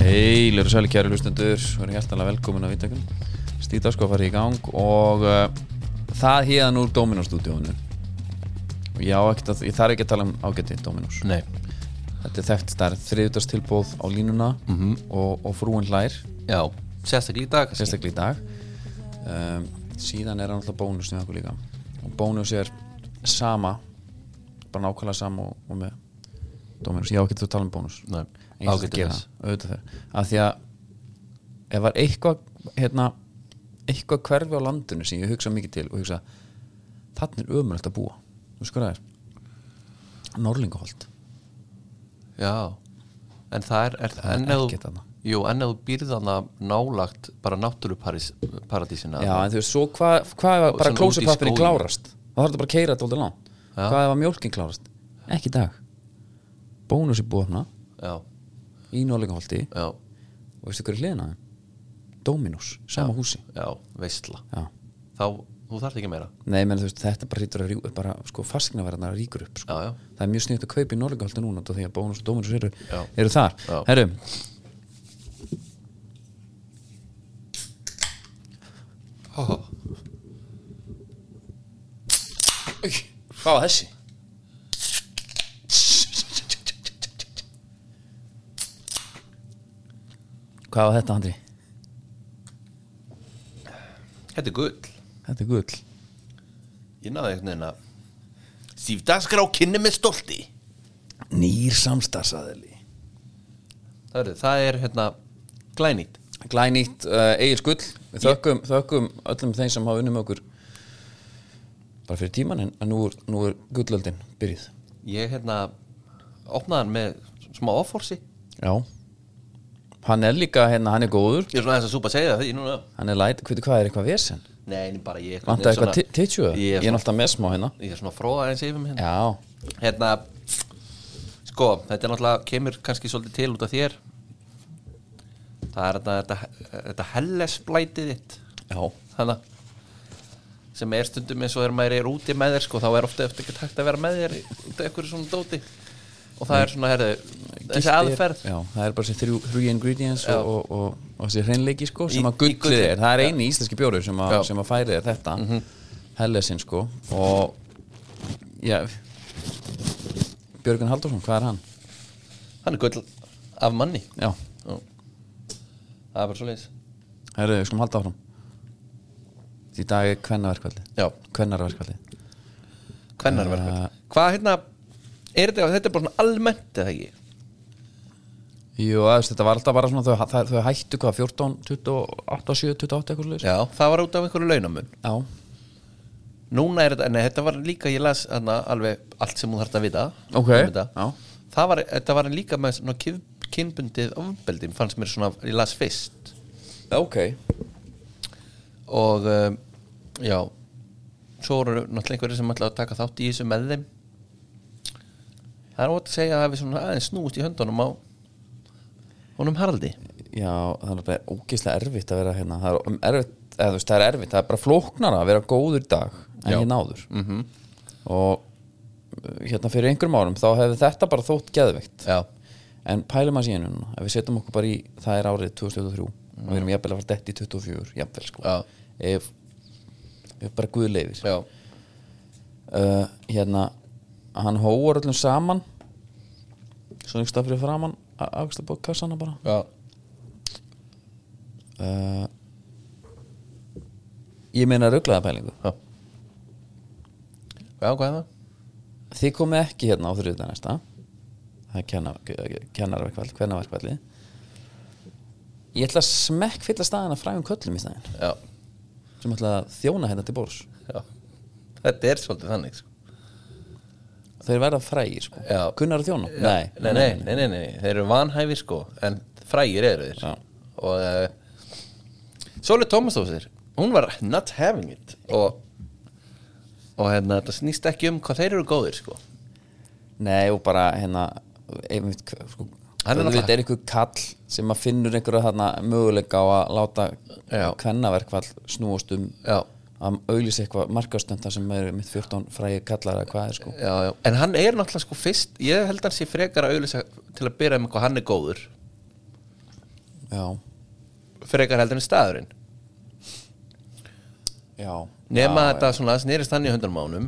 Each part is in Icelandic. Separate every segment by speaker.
Speaker 1: Verið sæli kæri hlustendur, verið hjertalega velkomin að vitakun Stíta sko farið í gang og uh, það híðan úr Dominó-stúdíónu Og ég, á ekkert að, ég þarf ekki að tala um ágæti Dominós
Speaker 2: Nei
Speaker 1: Þetta er þekkt, það er þriðutastilbóð á línuna og, og frúin hlær,
Speaker 2: Já, sérstaklega í dag kannski.
Speaker 1: sérstaklega í dag um, Síðan er hann alltaf bónus með okkur líka Og bónus er sama, bara nákvæmlega sama og, og með Dominós Ég á ekkert að tala um bónus En
Speaker 2: Nei,
Speaker 1: ég ætla að
Speaker 2: ágætið
Speaker 1: gera
Speaker 2: þess
Speaker 1: það, auðvitað þeir að því að ef var eitthvað hérna, eitthvað hverfi á landinu sem ég hugsa mikið til og hugsa þannig er ömulegt að búa þú sko það er Norlingaholt,
Speaker 2: Já, en það er, er
Speaker 1: Það er
Speaker 2: en ef þú-
Speaker 1: ekkert þarna.
Speaker 2: Jú, en ef þú býrð hana nálagt bara náttúruparadísina
Speaker 1: já en þú veist svo hvað hva ef að bara
Speaker 2: svona út í
Speaker 1: klósupapirinn
Speaker 2: skóginn.
Speaker 1: klárast þá þarf þetta bara að keira þetta alltaf langt
Speaker 2: Já.
Speaker 1: hvað ef að mjólkin klárast, ekki í dag bónus er búið hana
Speaker 2: Já,
Speaker 1: í Norlingaholti
Speaker 2: já,
Speaker 1: og veistu hverju hliðina Dominus, sama húsi
Speaker 2: já, veistla
Speaker 1: já.
Speaker 2: Þá, þú þarft ekki meira
Speaker 1: Nei, menn þú veist, þetta bara hýtur að ríkur bara, sko, fastignaverðarna ríkur upp, sko
Speaker 2: Já, já.
Speaker 1: það er mjög sniðt að kaupa í Norrlingahaldin núna út af því að bónus og dóminus eru,
Speaker 2: Já.
Speaker 1: eru þar
Speaker 2: Já.
Speaker 1: Herru Hvað var þessi? Hvað var þetta, Andri?
Speaker 2: Þetta er gull
Speaker 1: Þetta er gull
Speaker 2: Ég náði einhvern veginn að Sýfdagskrá kynni með stolti
Speaker 1: Nýr samstarfsaðili
Speaker 2: Það er, það er hérna glænýtt
Speaker 1: glænýtt uh, eigir skull við þökkum, þökkum öllum þeim sem hafa unnum okkur bara fyrir tíman en, en nú, er, nú er gullöldin byrjuð
Speaker 2: Ég hérna opnaði hann með smá offorsi
Speaker 1: já hann er líka hérna, hann er góður
Speaker 2: Ég er svona þess að súpa að segja það því núna
Speaker 1: hann er læt, hviti hvað er eitthvað vesen
Speaker 2: Nei, en bara ég
Speaker 1: vantar
Speaker 2: svona-
Speaker 1: eitthvað titjúða,
Speaker 2: Ég
Speaker 1: ég
Speaker 2: er
Speaker 1: er
Speaker 2: svona,
Speaker 1: náttúrulega með smá hérna
Speaker 2: ég er svona fróða eins yfir mig hérna
Speaker 1: já,
Speaker 2: Hérna, sko, þetta er náttúrulega kemur kannski svolítið til út af þér Það er þetta, þetta, þetta hellesblætið þitt
Speaker 1: já,
Speaker 2: Þannig sem er stundum eins og þegar maður er úti með þér sko, þá er ofta eftir ekki takt að vera með þér í- út af einhverju svona dóti og það er svona, herðu, þessi
Speaker 1: Gilti er-
Speaker 2: aðferð
Speaker 1: já, það er bara þessi þrjú, þrjú ingredients
Speaker 2: Já.
Speaker 1: og, og, og, og þessi hreinleiki sko sem
Speaker 2: Í-
Speaker 1: að
Speaker 2: í
Speaker 1: gullið
Speaker 2: gullið.
Speaker 1: er, það er eini íslenski bjóru sem, að-
Speaker 2: Já. Mhm.
Speaker 1: sem að færi þér þetta mm sko og já Björgun Haldursson, hvað er hann?
Speaker 2: Hann er gull af manni
Speaker 1: Já,
Speaker 2: Já. Það er bara svo leiðis
Speaker 1: herru, við skulum halda áfram Í dag er kvennaverkvallið
Speaker 2: Já,
Speaker 1: Kvennarverkvallið
Speaker 2: kvennarverkvöld
Speaker 1: Eh.
Speaker 2: Hvað hérna, er þetta, þetta er bara svona almennt eða ekki?
Speaker 1: Jú, þú veist, þetta var alltaf bara svona þau, þau, þau hættu hvað, 14, 28, 7, 28 eitthvað slags
Speaker 2: Já, það var út af einhverju launamun
Speaker 1: Já,
Speaker 2: Núna er þetta, nei þetta var líka, ég las hana, alveg allt sem hún þarf að vita
Speaker 1: Ok,
Speaker 2: um þetta.
Speaker 1: já.
Speaker 2: Það var, þetta var líka með svona kyn- kynbundið ofbeldi fannst mér svona, ég las fyrst
Speaker 1: ok
Speaker 2: og um, já svo voru náttúrulega einhverju sem ætlaði að taka þátt í þessu með þeim Það er ótt að segja að það hefði svona aðeins snúist í höndunum á honum Haraldi
Speaker 1: Já, það er bara ógeðslega erfitt að vera hérna Það er um- erfitt, eða, þú veist, það er erfitt, það er bara flóknara að vera góður í dag en
Speaker 2: Já. Mhm.
Speaker 1: hérna áður -hmm. og uh, hérna fyrir einhverjum árum þá hefði þetta bara þótt geðveikt
Speaker 2: Já,
Speaker 1: En pælum að síðan núna, ef við setjum okkur bara í það er árið 2023 og við erum jafnvel að fara dett í 24, jafnvel sko
Speaker 2: Já.
Speaker 1: ef, ef bara guð leifir
Speaker 2: já,
Speaker 1: uh, hérna, hann hóar öllum saman svo einhvers stað fyrir framann afgæsla bók kassana bara
Speaker 2: já
Speaker 1: uh, ég meina rugglaða pælingu
Speaker 2: Já, já hvað er það?
Speaker 1: þið komið ekki hérna á þriðdag næsta það er kenna- kennaraverkvall kvennaverkvalli ég ætla að smekk fylla staðina frægum köllum í staðin
Speaker 2: Já,
Speaker 1: sem ætla að þjóna hérna til bórs
Speaker 2: já Þetta er svolítið þannig sko.
Speaker 1: þeir verða frægir sko
Speaker 2: Já.
Speaker 1: kunnar að þjóna?
Speaker 2: nei, nei, nei, nei, nei, nei, þeir eru vanhæfir sko en frægir eru þeir
Speaker 1: Já.
Speaker 2: og uh, Sóli Tómasdóðsir hún var not having it og, og hérna, þetta snýst ekki um hvað þeir eru góðir sko
Speaker 1: Nei, og bara hérna einmitt, sko,
Speaker 2: Hann er
Speaker 1: þú veit,
Speaker 2: náttúrulega-
Speaker 1: er einhver kall sem að finnur einhverja þarna möguleika á að láta
Speaker 2: Já.
Speaker 1: kvennaverkvall snúast um
Speaker 2: Já.
Speaker 1: að auglýsa eitthvað markastönda sem er mitt 14 fræði kallar eða hvað er sko
Speaker 2: já, já. en hann er náttúrulega sko fyrst ég held hann sé frekar að auðlýsa til að byrja með hvað hann er góður
Speaker 1: já,
Speaker 2: frekar heldur en staðurinn
Speaker 1: já
Speaker 2: nema
Speaker 1: já,
Speaker 2: þetta svona snerist hann í höndanum ánum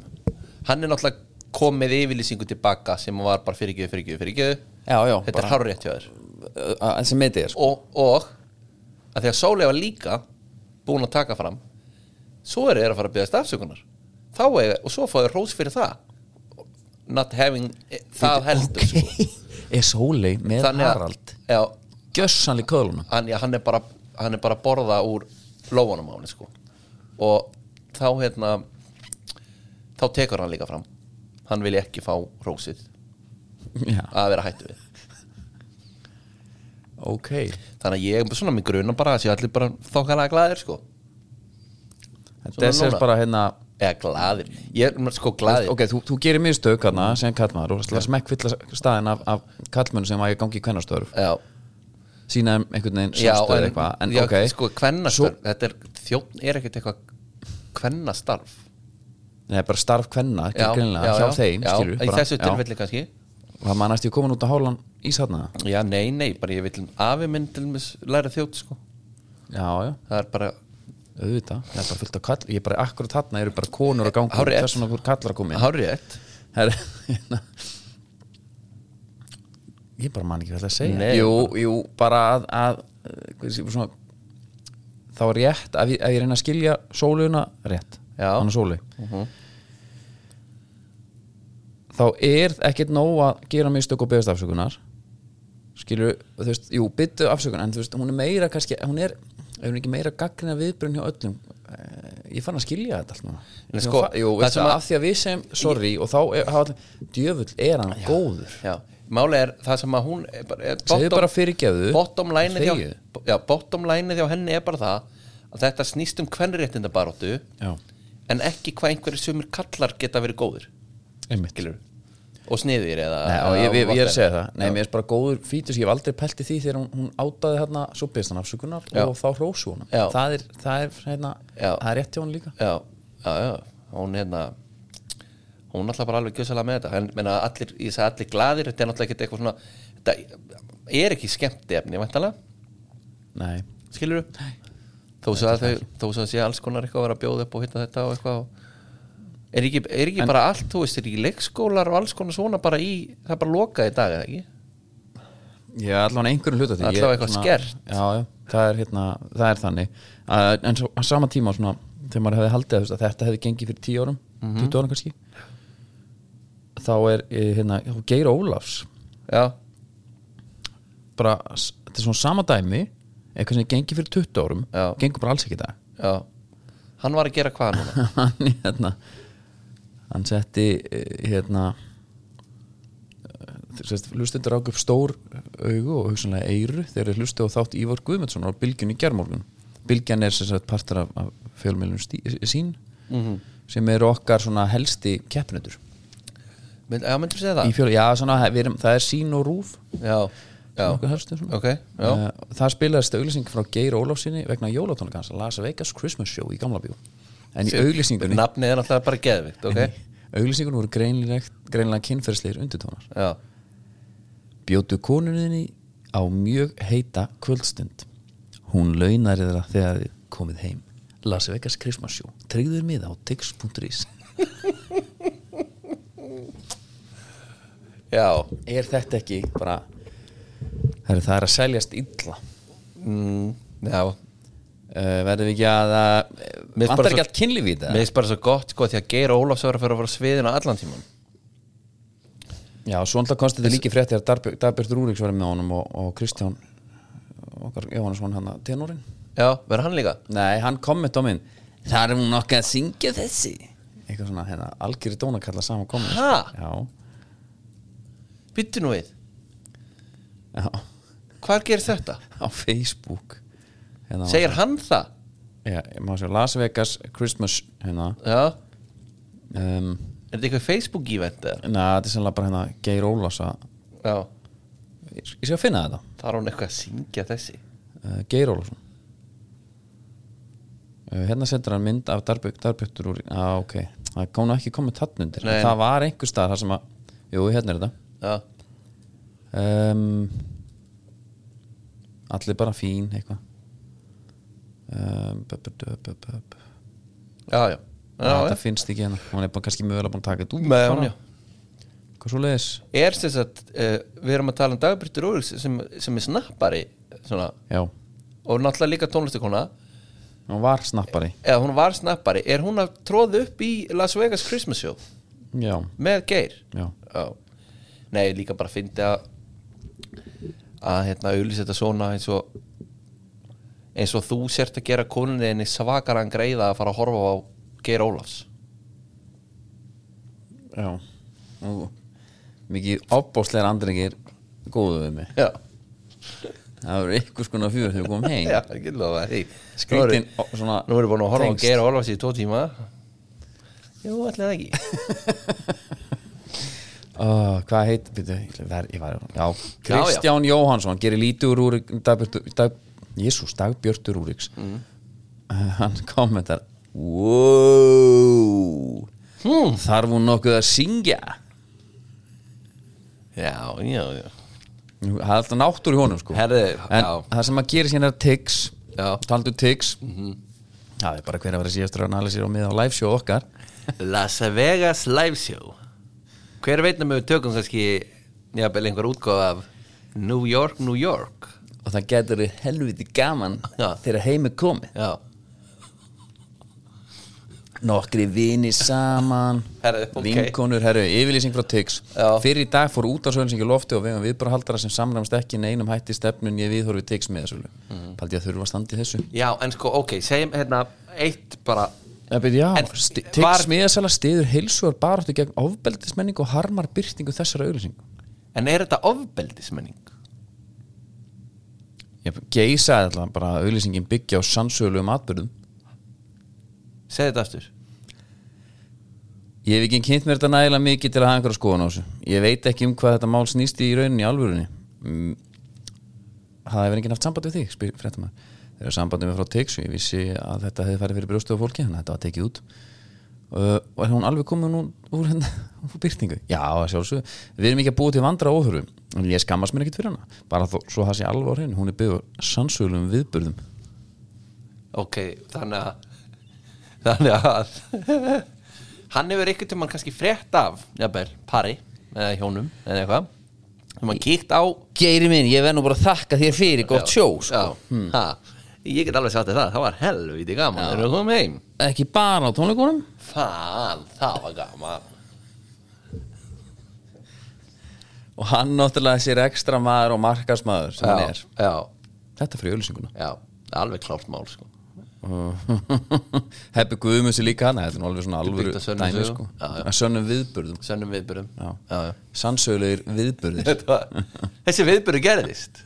Speaker 2: hann er náttúrulega komið yfirlýsingu tilbaka sem var bara fyrirgjöðu, fyrirgjöðu, fyrirgjöðu
Speaker 1: Já, já,
Speaker 2: þetta er hárrétt hjá þér
Speaker 1: bara þessi meiti er sko
Speaker 2: og, og að því að Sóley var líka búin að taka fram svo eru þeir að fara að byggja afsökunar þá er, og svo fáið rós fyrir það not having það heldur sko.
Speaker 1: er Sóley með Harald
Speaker 2: já,
Speaker 1: gjössanlega köluna
Speaker 2: hann, já, hann er bara hann er bara að borða úr lóanum á henni sko. og þá hérna þá tekur hann líka fram hann vil ekki fá rósið
Speaker 1: já,
Speaker 2: að vera hættu við
Speaker 1: ok
Speaker 2: þannig að ég er svona mig gruna bara að sé allir bara þokkalega glæðir sko
Speaker 1: þetta er
Speaker 2: núna.
Speaker 1: bara hérna
Speaker 2: eða glæðir, ég er sko glæðir
Speaker 1: ok, þú, þú gerir mistök hérna sem kallmaður og ætlar að smekkfylla staðin af, af kallmönu sem var í gangi í kvennastörf
Speaker 2: já,
Speaker 1: sína þeim einhvern veginn
Speaker 2: já
Speaker 1: samstöð
Speaker 2: en,
Speaker 1: eitthvað en
Speaker 2: já,
Speaker 1: ok,
Speaker 2: sko kvennastarf þetta er, þjófn er ekkert eitthvað kvennastarf
Speaker 1: það er bara starf kvenna greinilega, hjá þeim,
Speaker 2: já,
Speaker 1: skilur
Speaker 2: í þessu tilfelli kannski
Speaker 1: og það mannast ég komin út á hálan ísatna
Speaker 2: já, nei, nei, bara ég vil um afi minn til mis læra þjótt sko
Speaker 1: já, já,
Speaker 2: það er bara,
Speaker 1: auðvitað, það er bara fullt af kall ég er bara akkurat þarna, eru bara konur að ganga
Speaker 2: Hárrétt.
Speaker 1: þess vegna voru kallar að koma inn
Speaker 2: hárið ett
Speaker 1: Her, hérna. ég bara man ekki hvað það að segja
Speaker 2: Nei.
Speaker 1: jú, jú, bara að, að eh, hvað sé, svona, þá er rétt ef ég, ef ég reyna að skilja sóluna rétt,
Speaker 2: Já.
Speaker 1: hann er sólu þá er ekkert nóg að gera mistök og beðast afsökunar skilur, þú veist, jú, byttu afsökunar en þú veist, hún er meira kannski hún er, ef hún er ekki meira gaggrina viðbrun hjá öllum eh, ég fann að skilja þetta allt núna
Speaker 2: Nei,
Speaker 1: Ég
Speaker 2: sko,
Speaker 1: fa- jú,
Speaker 2: það
Speaker 1: veist,
Speaker 2: sem að-
Speaker 1: að, af því að við sem, sorry og þá er, hafa allir, djöfull er hann góður
Speaker 2: já, máli er það sem að hún er bara, er
Speaker 1: segðu bara fyrirgeðu
Speaker 2: bottom line þjá,
Speaker 1: þegiðu.
Speaker 2: já, bottom line þjá henni er bara það að þetta snýst um kvennréttinda baróttu
Speaker 1: já,
Speaker 2: en ekki hvað einhverju sumir kallar geta verið góðir
Speaker 1: einmitt
Speaker 2: skilur og sniðir eða
Speaker 1: Nei, og ég, ég, ég er að segja það, nei,
Speaker 2: Já.
Speaker 1: mér er bara góður fítus, ég hef aldrei pelti því þegar hún, hún átaði hérna svo beðst hann afsökunar
Speaker 2: Já.
Speaker 1: og þá hrósu hún
Speaker 2: Já.
Speaker 1: það er, það er, hérna,
Speaker 2: Já.
Speaker 1: það er rétt hjá hún líka
Speaker 2: já, já, já, hún hérna hún alltaf bara alveg gjössalega með þetta en meina, allir, ég sagði allir glaðir þetta er náttúrulega ekki eitthvað svona þetta er ekki skemmt efni, væntalega
Speaker 1: nei,
Speaker 2: skilur þú? þó svo að þau, þó svo að sé alls konar eitthvað að vera að bjóða upp og hitta þetta og eitthvað og er ekki, er ekki bara allt, þú veist, er ekki leikskólar og alls konar svona bara í, það er bara lokað í dag eða ekki?
Speaker 1: Ég er allavega einhverjum hluta til
Speaker 2: Allavega
Speaker 1: Ég-
Speaker 2: eitthvað
Speaker 1: svona-
Speaker 2: skert.
Speaker 1: Já, já, það er, hérna, það er þannig uh, En svo, á sama tíma svona, þegar maður hefði haldið að, þú veist, að þetta hefði gengið fyrir 10 árum 20 árum kannski Þá er, eh, hérna, já, Geir Ólafs
Speaker 2: já,
Speaker 1: bara, s- þetta er svona sama dæmi eitthvað sem gengið fyrir 20 árum
Speaker 2: Já.
Speaker 1: gengur bara alls ekki í dag
Speaker 2: já hann var að gera hvað núna?
Speaker 1: hann, hérna, hann setti eh, hérna eh, hlustundur ák upp stór augu og hugsanlega eyru þegar þeir hlustu á þátt Ívar Guðmundsson á bylgjun í germorgun bylgjan er sem sagt partur af, af fjölmjölum sín
Speaker 2: Mhm.
Speaker 1: sem eru okkar svona helsti keppnutur
Speaker 2: Mynd- já, myndur segja
Speaker 1: í
Speaker 2: það?
Speaker 1: fjöl, já, svona, við erum, það er sín og rúf
Speaker 2: já, já,
Speaker 1: okkar helstu svona
Speaker 2: ok, já
Speaker 1: Uh, það spilaðist auglýsing frá Geir Ólafsinni vegna jólatónleika hans Las Vegas Christmas Show í Gamla Bíó en í auglýsingunni
Speaker 2: Nafnið er náttúrulega bara geðvikt, ok?
Speaker 1: auglýsingunum voru greinlega, greinlega kynferðslegir undirtónar
Speaker 2: Já,
Speaker 1: bjótu konuninni á mjög heita kvöldstund hún launar þeirra þegar þið komið heim Las Vegas Christmas Show tryggður miða á tix.is
Speaker 2: já
Speaker 1: er þetta ekki bara Herru, það er að seljast illa
Speaker 2: mm, Já,
Speaker 1: uh, verðum við ekki að uh,
Speaker 2: Mér finnst bara
Speaker 1: vantar
Speaker 2: svo-
Speaker 1: ekki allt kynlíf í
Speaker 2: mér
Speaker 1: þetta
Speaker 2: finnst bara svo gott sko því að Geir Ólafs var að fara að fara á sviðina allan tíman
Speaker 1: já, svo alltaf komst þetta líki frétti að Darbjörn Darbjörn Rúriks var með honum og, og Kristján okkar Jóhannesson hann að tenórin
Speaker 2: Já, verður hann líka?
Speaker 1: Nei, hann komment á minn Það er hún nokkuð að syngja þessi Eitthvað svona, hérna, algjörði dónakalla saman komment
Speaker 2: Ha?
Speaker 1: Já,
Speaker 2: Byttu nú við,
Speaker 1: já,
Speaker 2: hvað gerir þetta?
Speaker 1: á Facebook hérna,
Speaker 2: Segir hann það?
Speaker 1: Já, ég má sjá, Las Vegas Christmas hérna
Speaker 2: Já, er
Speaker 1: um,
Speaker 2: þetta eitthvað Facebook event eða?
Speaker 1: Na, þetta er sannlega bara hérna Geir Ólafs að
Speaker 2: Já,
Speaker 1: Ég ég sé að finna þetta
Speaker 2: það er hún eitthvað að syngja þessi
Speaker 1: uh, Geir Ólafsson uh, Hérna sendur hann mynd af darbjöktur úr ah, ok, það kom nú ekki komið tattn undir
Speaker 2: Nei.
Speaker 1: Það var einhver staðar þar sem að Jú, hérna er þetta
Speaker 2: Já,
Speaker 1: um, allir bara fín eitthvað um, bu- bu- bu- bu- bu- bu-
Speaker 2: já, já, já,
Speaker 1: þetta
Speaker 2: já.
Speaker 1: finnst ekki hérna hún er bara kannski mögulega búin að taka þetta út
Speaker 2: Með,
Speaker 1: bara.
Speaker 2: hún, já.
Speaker 1: hvað svo leiðis
Speaker 2: er þess að uh, við erum að tala um dagbrytur Rúriks sem, sem er snappari svona,
Speaker 1: já,
Speaker 2: og náttúrulega líka tónlistakona
Speaker 1: hún var snappari
Speaker 2: eða hún var snappari, er hún að tróða upp í Las Vegas Christmas Show
Speaker 1: já,
Speaker 2: með Geir
Speaker 1: já,
Speaker 2: Já. Nei, líka bara fyndi að að hérna auðlýsa þetta svona eins og eins og þú sért að gera konunni en svakaran greiða að fara að horfa á Geir Ólafs
Speaker 1: já Nú, mikið opbóslegar andringir góðu við mig
Speaker 2: Já,
Speaker 1: það verður einhvers konar fjör þegar við komum heim
Speaker 2: já, ekki lofa því
Speaker 1: Skrítin,
Speaker 2: Nú
Speaker 1: ó, svona
Speaker 2: erum við búin að horfa
Speaker 1: tengsl.
Speaker 2: á Geir Ólafs í tvo tíma Jú, allir það ekki
Speaker 1: Oh, hvað heit, býtu, ég var, ég var já, Kristján Jóhansson gerir lítið úr úr dagbjörtu, dag, Jésús, dagbjörtur úriks mm. hann kommentar wow
Speaker 2: hmm.
Speaker 1: þarf hún nokkuð að syngja
Speaker 2: Já, já, já
Speaker 1: það er alltaf náttur í honum sko
Speaker 2: Herðu,
Speaker 1: en
Speaker 2: já.
Speaker 1: það sem að gera sérna er Tix
Speaker 2: Já.
Speaker 1: taldu Tix það er bara hver að vera síðastur að næla sér á miða á live show okkar
Speaker 2: Las Vegas Live Show Hver veit nefnum við tökum kannski jafnvel einhver útgáð af New York, New York
Speaker 1: og það getur þið helviti gaman
Speaker 2: Já.
Speaker 1: þegar heim er komið
Speaker 2: Já,
Speaker 1: nokkri vini saman
Speaker 2: Herru, ok.
Speaker 1: vinkonur, herru, yfirlýsing frá Tix
Speaker 2: Já.
Speaker 1: fyrir í dag fór út á sögulsingi lofti og vegum viðbrahaldara sem samræmst ekki neinum hætti stefnun ég viðhorfi Tix með þessu
Speaker 2: Mhm.
Speaker 1: paldi að þurfa að standa í þessu
Speaker 2: Já, en sko, ok, segjum hérna eitt bara
Speaker 1: Já, byrju, já,
Speaker 2: En
Speaker 1: sti-
Speaker 2: var-
Speaker 1: Tix miðasala stiður heilsugar baráttu gegn ofbeldismenning og harmar byrtingu þessara auðlýsing
Speaker 2: En er þetta ofbeldismenning?
Speaker 1: ég geysaði alltaf bara að auðlýsingin byggja á sannsögulegum atbyrðum
Speaker 2: Segðu þetta aftur
Speaker 1: ég hef ekki kynnt mér þetta nægilega mikið til að hafa einhverja skoðan á þessu ég veit ekki um hvað þetta mál snýst í rauninni í alvörunni mm. hafði verið enginn haft samband við þig spyr fréttamaður þegar sambandið með frá Tix og ég vissi að þetta hefði farið fyrir brjóstuð á fólki þannig að þetta var tekið út uh, og er hún alveg komin nú úr henn úr byrtingu, já að sjálfsög við erum ekki að búa til vandra óþörfu en ég skammast mér ekkit fyrir hana bara þó, svo það sé alveg á hreinu, hún er byggður sannsögulegum viðburðum
Speaker 2: Ok, þannig að Þannig að Hann hefur eitthvað til mann kannski frétt af Jafnvel, pari, eða hjónum Eða eitthvað Þegar maður kíkt á
Speaker 1: Geiri minn, ég verð nú bara að þakka þér fyrir sko.
Speaker 2: Já, Já, ha, ég get alveg sagt þér það Það var helviti gaman, erum við komum heim
Speaker 1: ekki bara á tónleikunum
Speaker 2: Fan, það var gaman
Speaker 1: og hann náttúrulega sér ekstra maður og markasmaður sem hann er
Speaker 2: já,
Speaker 1: þetta fyrir ölsinguna
Speaker 2: já, alveg klárt mál sko.
Speaker 1: Heppi Guðmunds er líka hann þetta er nú alveg svona alvöru
Speaker 2: byggt á sönnum
Speaker 1: dæmi
Speaker 2: sögum.
Speaker 1: sko
Speaker 2: Já, já.
Speaker 1: að sönnum viðburðum
Speaker 2: Sönnum viðbyrðum
Speaker 1: Já.
Speaker 2: já, já.
Speaker 1: sannsögulegir viðburðir
Speaker 2: Þetta var- Þessi viðbyrðu gerðist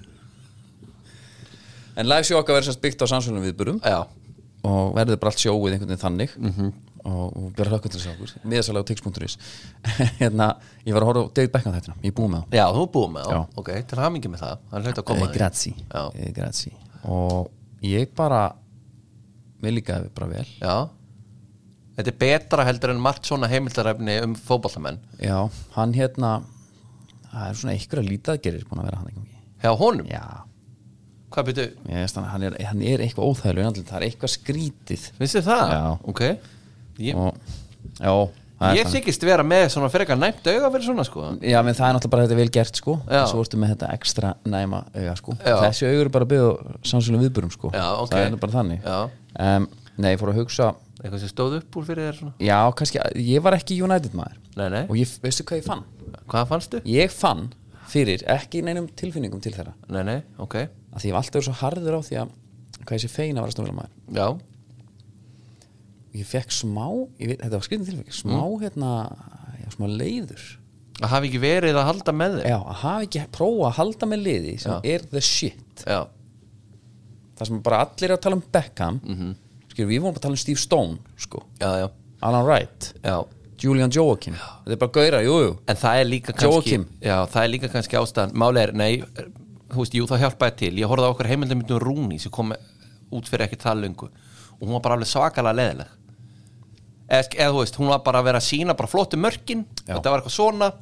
Speaker 1: en live show okkar verður sérst byggt á sannsögulegum viðburðum
Speaker 2: Já,
Speaker 1: og verður bara allt sjóið einhvern veginn þannig
Speaker 2: Mhm.
Speaker 1: og, og björða hlökkum til að sjá okkur miðasalega á tix.is hérna, ég var að horfa á David Beckham þættina ég búið með það
Speaker 2: já þú er búið með
Speaker 1: Já.
Speaker 2: það Ok, til hamingi með það Það er hlut að koma
Speaker 1: Eh,
Speaker 2: að því.
Speaker 1: grazie.
Speaker 2: Já.
Speaker 1: Eh, grazie. og ég bara mér líkaði bara vel
Speaker 2: Já Þetta er betra heldur en margt svona heimildarefni um fótballamenn
Speaker 1: Já, hann hérna það er svona einhverja lítaðgerir búin að vera hann ekki
Speaker 2: Hjá honum,
Speaker 1: Já,
Speaker 2: hvað byrju,
Speaker 1: ég veist hann, hann er, hann er eitthvað óþægilega andlut, það er eitthvað skrítið
Speaker 2: finnst þið það?
Speaker 1: Já.
Speaker 2: Ok Ég,
Speaker 1: og, Já, það er
Speaker 2: ég þykist vera með svona frekar næmt auga fyrir svona sko
Speaker 1: Já, menn það er náttúrulega bara þetta vel gert sko
Speaker 2: Já.
Speaker 1: en svo ertu með þetta ekstra næma auga sko
Speaker 2: Já.
Speaker 1: Þessi augur er bara að byggja samsvölu viðburum sko
Speaker 2: Já, ok.
Speaker 1: Það er nú bara þannig
Speaker 2: Já.
Speaker 1: um, Nei, ég fór að hugsa
Speaker 2: Eitthvað sem stóð upp úr fyrir þér svona
Speaker 1: Já, kannski, ég var ekki United maður
Speaker 2: Nei, nei,
Speaker 1: Og ég, veistu hvað ég fann?
Speaker 2: hvað fannstu?
Speaker 1: Ég fann fyrir ekki neinum tilfinningum til þeirra
Speaker 2: Nei, nei, ok
Speaker 1: að því ég var alltaf svo harður á því að hvað ég sé fein að vera stóðlega maður
Speaker 2: Já,
Speaker 1: og ég fekk smá, ég veit, þetta var skrifin tilfæk smá
Speaker 2: Mm.
Speaker 1: hérna, já, smá leiður
Speaker 2: að hafi ekki verið að halda með þér
Speaker 1: já, að hafa ekki prófa að halda með liði sem er the shit
Speaker 2: Já,
Speaker 1: það sem bara allir eru að tala um Beckham mm -hmm. við vorum bara að tala um Steve Stone sko.
Speaker 2: já, Mhm. já,
Speaker 1: Alan Wright,
Speaker 2: já.
Speaker 1: Julian Joachim þetta er bara gauðra, jú, jú
Speaker 2: En það er líka kannski
Speaker 1: Joachim.
Speaker 2: Já, það er líka kannski ástæðan Máli er, nei, þú veist, jú, það hjálpaði til Ég horfði á okkur heimildamindum Rúni sem kom út fyrir ekki það löngu og hún var bara alveg svakalega leðileg eða, sk- eða þú veist, hún var bara að vera að sína bara flottu mörkin,
Speaker 1: Já.
Speaker 2: þetta var eitthvað svona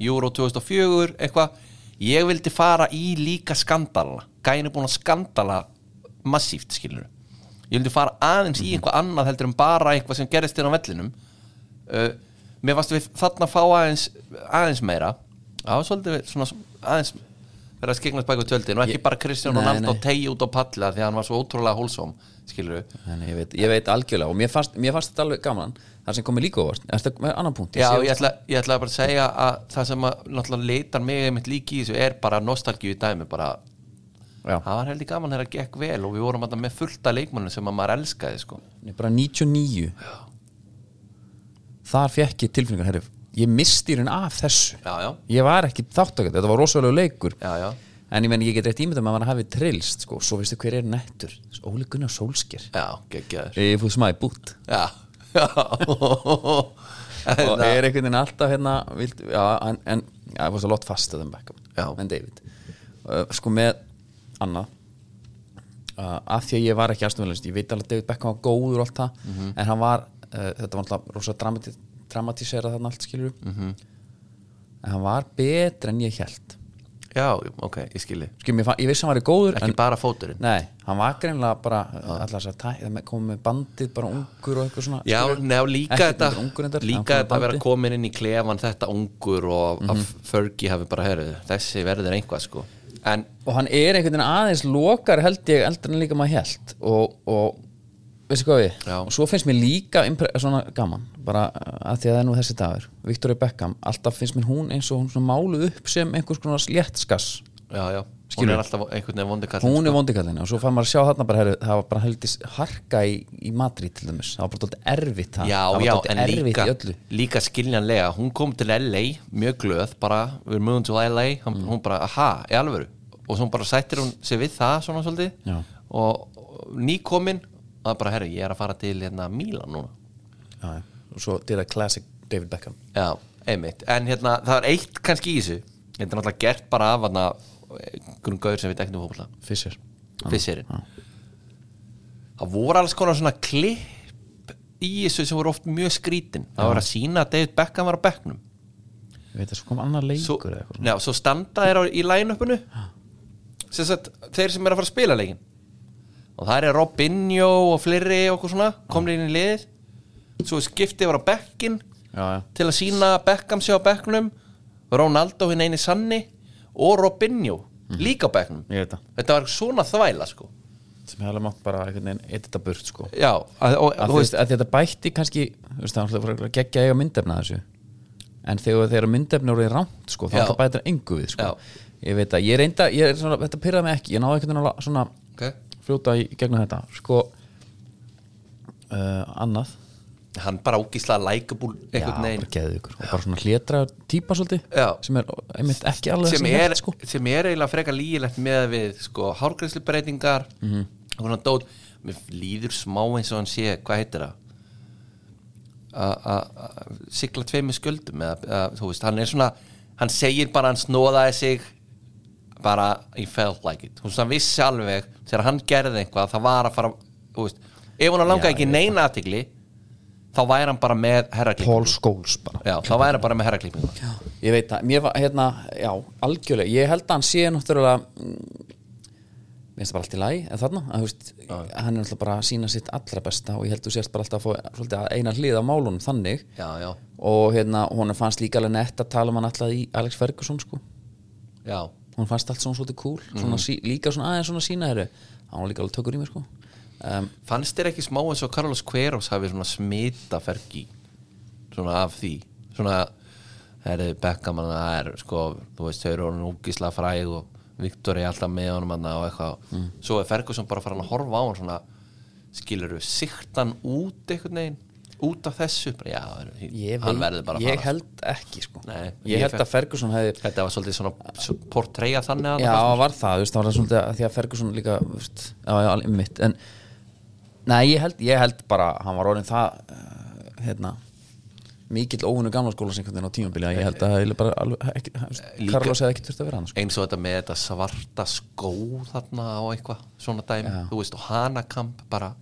Speaker 2: Euro 2004, eitthvað ég vildi fara í líka skandalana gæin er búin að skandala massíft skilur ég vildi fara aðeins í einhvað annað heldur en bara einhvað sem gerist inn á vellinum uh, mér varst við þarna að fá aðeins aðeins meira það var svolítið svona aðeins verið að skegna spæku tjöldin og ekki
Speaker 1: Ég-
Speaker 2: bara Kristján
Speaker 1: Nei,
Speaker 2: Ronaldo
Speaker 1: nei.
Speaker 2: tegi út á palla því að hann var svo ótrúlega hólsóm skilur
Speaker 1: Þannig, ég, veit, ég veit algjörlega og mér fannst, mér fannst þetta alveg gaman þar sem komið líka óvart, er þetta með annan punkt
Speaker 2: Já,
Speaker 1: sé-
Speaker 2: ég ætla, ég ætla bara að segja að það sem að náttúrulega leitar mig einmitt líki í þessu er bara nostalgíu í dæmi bara,
Speaker 1: já.
Speaker 2: það var heldur gaman þegar það gekk vel og við vorum alltaf með fullta leikmannum sem að maður elskaði sko.
Speaker 1: Nei, bara 99 þar fekk ég tilfinningar herri, ég misti hérna af þessu
Speaker 2: Já, já,
Speaker 1: ég var ekki þáttakett, þetta var rosalega leikur
Speaker 2: já, já,
Speaker 1: en ég menn ég get rétt ímynda með að maður hafi trillst sko. svo veistu hver er nettur Óli Gunnar Sólskir
Speaker 2: já, geggjaður
Speaker 1: ég fóð smæði bútt
Speaker 2: Já, já
Speaker 1: og
Speaker 2: En eh, að-
Speaker 1: er einhvern veginn alltaf hérna vild, já, en, en já, það var svo lott fast að þeim
Speaker 2: Já.
Speaker 1: Beckham en David uh, sko með annað uh, að því að ég var ekki aðstofnvelist ég veit alveg að David Beckham var góður og allt það
Speaker 2: Mhm.
Speaker 1: en hann var, uh, þetta var alltaf rosa dramati, dramatisera þarna allt skilur
Speaker 2: Mhm.
Speaker 1: -hmm. en hann var betri en ég held
Speaker 2: Já, ok, ég skilji
Speaker 1: Skim, ég, fann, ég vissi að hann var góður
Speaker 2: Ekki
Speaker 1: en,
Speaker 2: bara fóturinn
Speaker 1: nei, hann var greinlega bara allar þess að tæ, komið með bandið bara ungur og eitthvað svona
Speaker 2: Já,
Speaker 1: skilurðu.
Speaker 2: nefn líka
Speaker 1: Ekki
Speaker 2: þetta
Speaker 1: ungur, ungur reyndar, en
Speaker 2: Líka
Speaker 1: komið
Speaker 2: þetta að
Speaker 1: með
Speaker 2: vera
Speaker 1: bandið.
Speaker 2: komin inn í klefan þetta ungur og að
Speaker 1: Mhm.
Speaker 2: Fergie hafi bara herrið Þessi verður einhvað sko En
Speaker 1: og hann er einhvern veginn aðeins lokar held ég eldur en líka maður held og, og veistu hvað við
Speaker 2: Já.
Speaker 1: og svo finnst mér líka impre- svona gaman bara uh, að því að það er nú þessi dagur Victoria Beckham, alltaf finnst mér hún eins og hún svona máluð upp sem einhvers konar léttskass
Speaker 2: Já, já, hún
Speaker 1: Skilur.
Speaker 2: er alltaf einhvern veginn vondi kallinn
Speaker 1: hún er vondikallin og svo fann maður að sjá þarna bara heru, það var bara heldis harka í, í Madrid til dæmis, það var bara dálítið erfitt það,
Speaker 2: Já,
Speaker 1: það var
Speaker 2: já,
Speaker 1: dálítið
Speaker 2: en
Speaker 1: erfitt
Speaker 2: líka,
Speaker 1: í öllu
Speaker 2: líka skiljanlega Hún kom til LA, mjög glöð bara, við erum mögum til LA hann,
Speaker 1: Mm.
Speaker 2: Hún bara, aha, í alvöru Og svo hún bara sættir hún sig við það svona svolítið
Speaker 1: Já.
Speaker 2: Og og nýkomin Og það er bara, herri, ég er að fara til hérna Mílan núna
Speaker 1: já, já. og svo did a classic David Beckham
Speaker 2: Já, einmitt En hérna, það er eitt kannski í þessu Þetta er náttúrulega gert bara af hana Grunn gaur sem við teknum hópla
Speaker 1: Fischer
Speaker 2: Fisserinn það voru alls konar svona klipp í þessu sem voru oft mjög skrítin það var að sína að David Beckham var á bekknum
Speaker 1: ég veit að svo kom annar leikur
Speaker 2: svo,
Speaker 1: eða eitthvað svona.
Speaker 2: já, svo standa þeir á, í line-upinu sem sagt, þeir sem er að fara að spila leikin og það er Robinho og fleiri og okkur svona komnir inn í liðið svo skiptið var á bekkin
Speaker 1: já, já.
Speaker 2: til að sína að Beckham sé á bekknum Ronaldo hinn eini sanni og Robinho líka á bekknum
Speaker 1: ég veit það
Speaker 2: þetta var svona þvæla sko
Speaker 1: sem hefði alveg mátt bara einhvern veginn edita burt sko
Speaker 2: já, að, og,
Speaker 1: að,
Speaker 2: þú
Speaker 1: veist, að þetta bætti kannski þú veist, það var að gegja eiga myndefna þessu en þegar þeirra myndefni eru í rámt sko, þá
Speaker 2: Já.
Speaker 1: er það bættir engu við sko.
Speaker 2: Já.
Speaker 1: ég veit að ég reynda, ég er svona, þetta pyrraði mig ekki ég náði einhvern veginn að la- svona
Speaker 2: okay.
Speaker 1: fljóta í gegnum þetta sko uh, annað
Speaker 2: hann bara ógíslega likeable einhvern
Speaker 1: bara
Speaker 2: veginn
Speaker 1: geðu ykkur og bara svona hlétra típa svolítið
Speaker 2: Já.
Speaker 1: sem er einmitt ekki alveg
Speaker 2: sem
Speaker 1: það ég
Speaker 2: er,
Speaker 1: hélt, sko.
Speaker 2: sem er eiginlega frekar lígilegt með við sko, hárgreislubreytingar mm
Speaker 1: Mhm.
Speaker 2: -hmm. svona dót mér líður smá eins og hann sé hvað heitir það A- a- a- sigla tveimur sköldum eða, eða, þú veist, hann er svona hann segir bara, hann snóðaði sig bara, he felt like it þú veist, hann vissi alveg, þegar hann gerði eitthvað það var að fara, þú veist ef hann
Speaker 1: Já,
Speaker 2: langaði ekki
Speaker 1: ég
Speaker 2: í neina aðtigli þá væri hann bara með
Speaker 1: Paul
Speaker 2: herraklippingu
Speaker 1: Scholes bara
Speaker 2: já, þá væri hann bara með herraklippingu
Speaker 1: Ég veit það, mér var, hérna, já, algjörlega Ég held að hann sé náttúrulega mm, Mér finnst það bara allt í lagi En þarna, að, þú veist, hann er náttúrulega bara að sína sitt allra besta Og ég held þú sérst bara alltaf að fá svolítið, að eina hlið á málunum þannig
Speaker 2: já, já,
Speaker 1: Og hérna, hún fannst líka alveg nett að tala um hann alltaf í Alex Ferguson, sko
Speaker 2: já
Speaker 1: Hún fannst allt svona svolítið cool
Speaker 2: Mhm.
Speaker 1: svona, sí, Líka svona aðeins svona sína þeirri Hann var líka alveg tökur í mér, sko um,
Speaker 2: Fannst þér ekki smá eins og Carlos Queiroz hafi svona smita fergi svona af því svona herri Beckham hann það er sko, þú veist, þau eru honum úkislega fræg og Viktor er alltaf með honum hann og eitthvað,
Speaker 1: Mm.
Speaker 2: svo er Ferguson bara farin að horfa á hann svona, skilur þau siktan út einhvern veginn út af þessu, bara, já, hann
Speaker 1: Ég,
Speaker 2: verður bara
Speaker 1: veit,
Speaker 2: að
Speaker 1: ég
Speaker 2: fara
Speaker 1: held ekki, sko
Speaker 2: Nei,
Speaker 1: Ég,
Speaker 2: ég
Speaker 1: held
Speaker 2: fer-
Speaker 1: að Ferguson hefði
Speaker 2: Þetta var svolítið svona portreyja þannig að
Speaker 1: Já,
Speaker 2: það
Speaker 1: var það, þú veist, það var það svolítið að því að Ferguson líka, þú veist, já, já, alveg mitt en, nei, ég held, ég held bara hann var orðin það uh, hérna, mikill óvinnu gamla skóla sem einhvern veginn á tímabili að ég held að það er bara alveg, ekki, þú veist,
Speaker 2: Líka-
Speaker 1: Carlos hefði ekki þurft að vera hann, sko
Speaker 2: eins og þetta með þetta svarta skó þarna á eitthvað, svona dæmi
Speaker 1: Já.
Speaker 2: þú veist, og hanakamp bara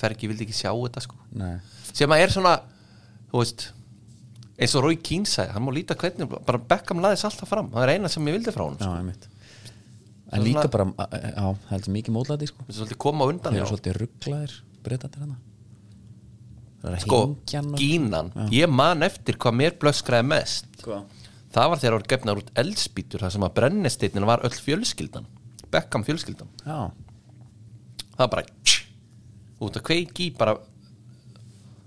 Speaker 2: Fergi vildi ekki sjá þetta sko
Speaker 1: Nei,
Speaker 2: sem að er svona, þú veist eins og Rói Kín sagði, hann má líta hvernig bara Beckham laðis alltaf fram, það er eina sem ég vildi frá hann
Speaker 1: já, einmitt en líka bara, eh, já, það heldur mikið mótlæti sko.
Speaker 2: þess að svolítið koma á undan
Speaker 1: þeir
Speaker 2: hjá.
Speaker 1: eru svolítið rugglaðir breytandir hana það er að
Speaker 2: sko,
Speaker 1: hengja hann og-
Speaker 2: Kínan, ég man eftir hvað mér blöskraði mest
Speaker 1: Hvað?
Speaker 2: það var þegar það voru gefnar út eldspýtur þar sem að brennisteinnina var öll fjölskyldan Beckham fjölskyldan,
Speaker 1: já,
Speaker 2: það var bara tss, út að kveiki í bara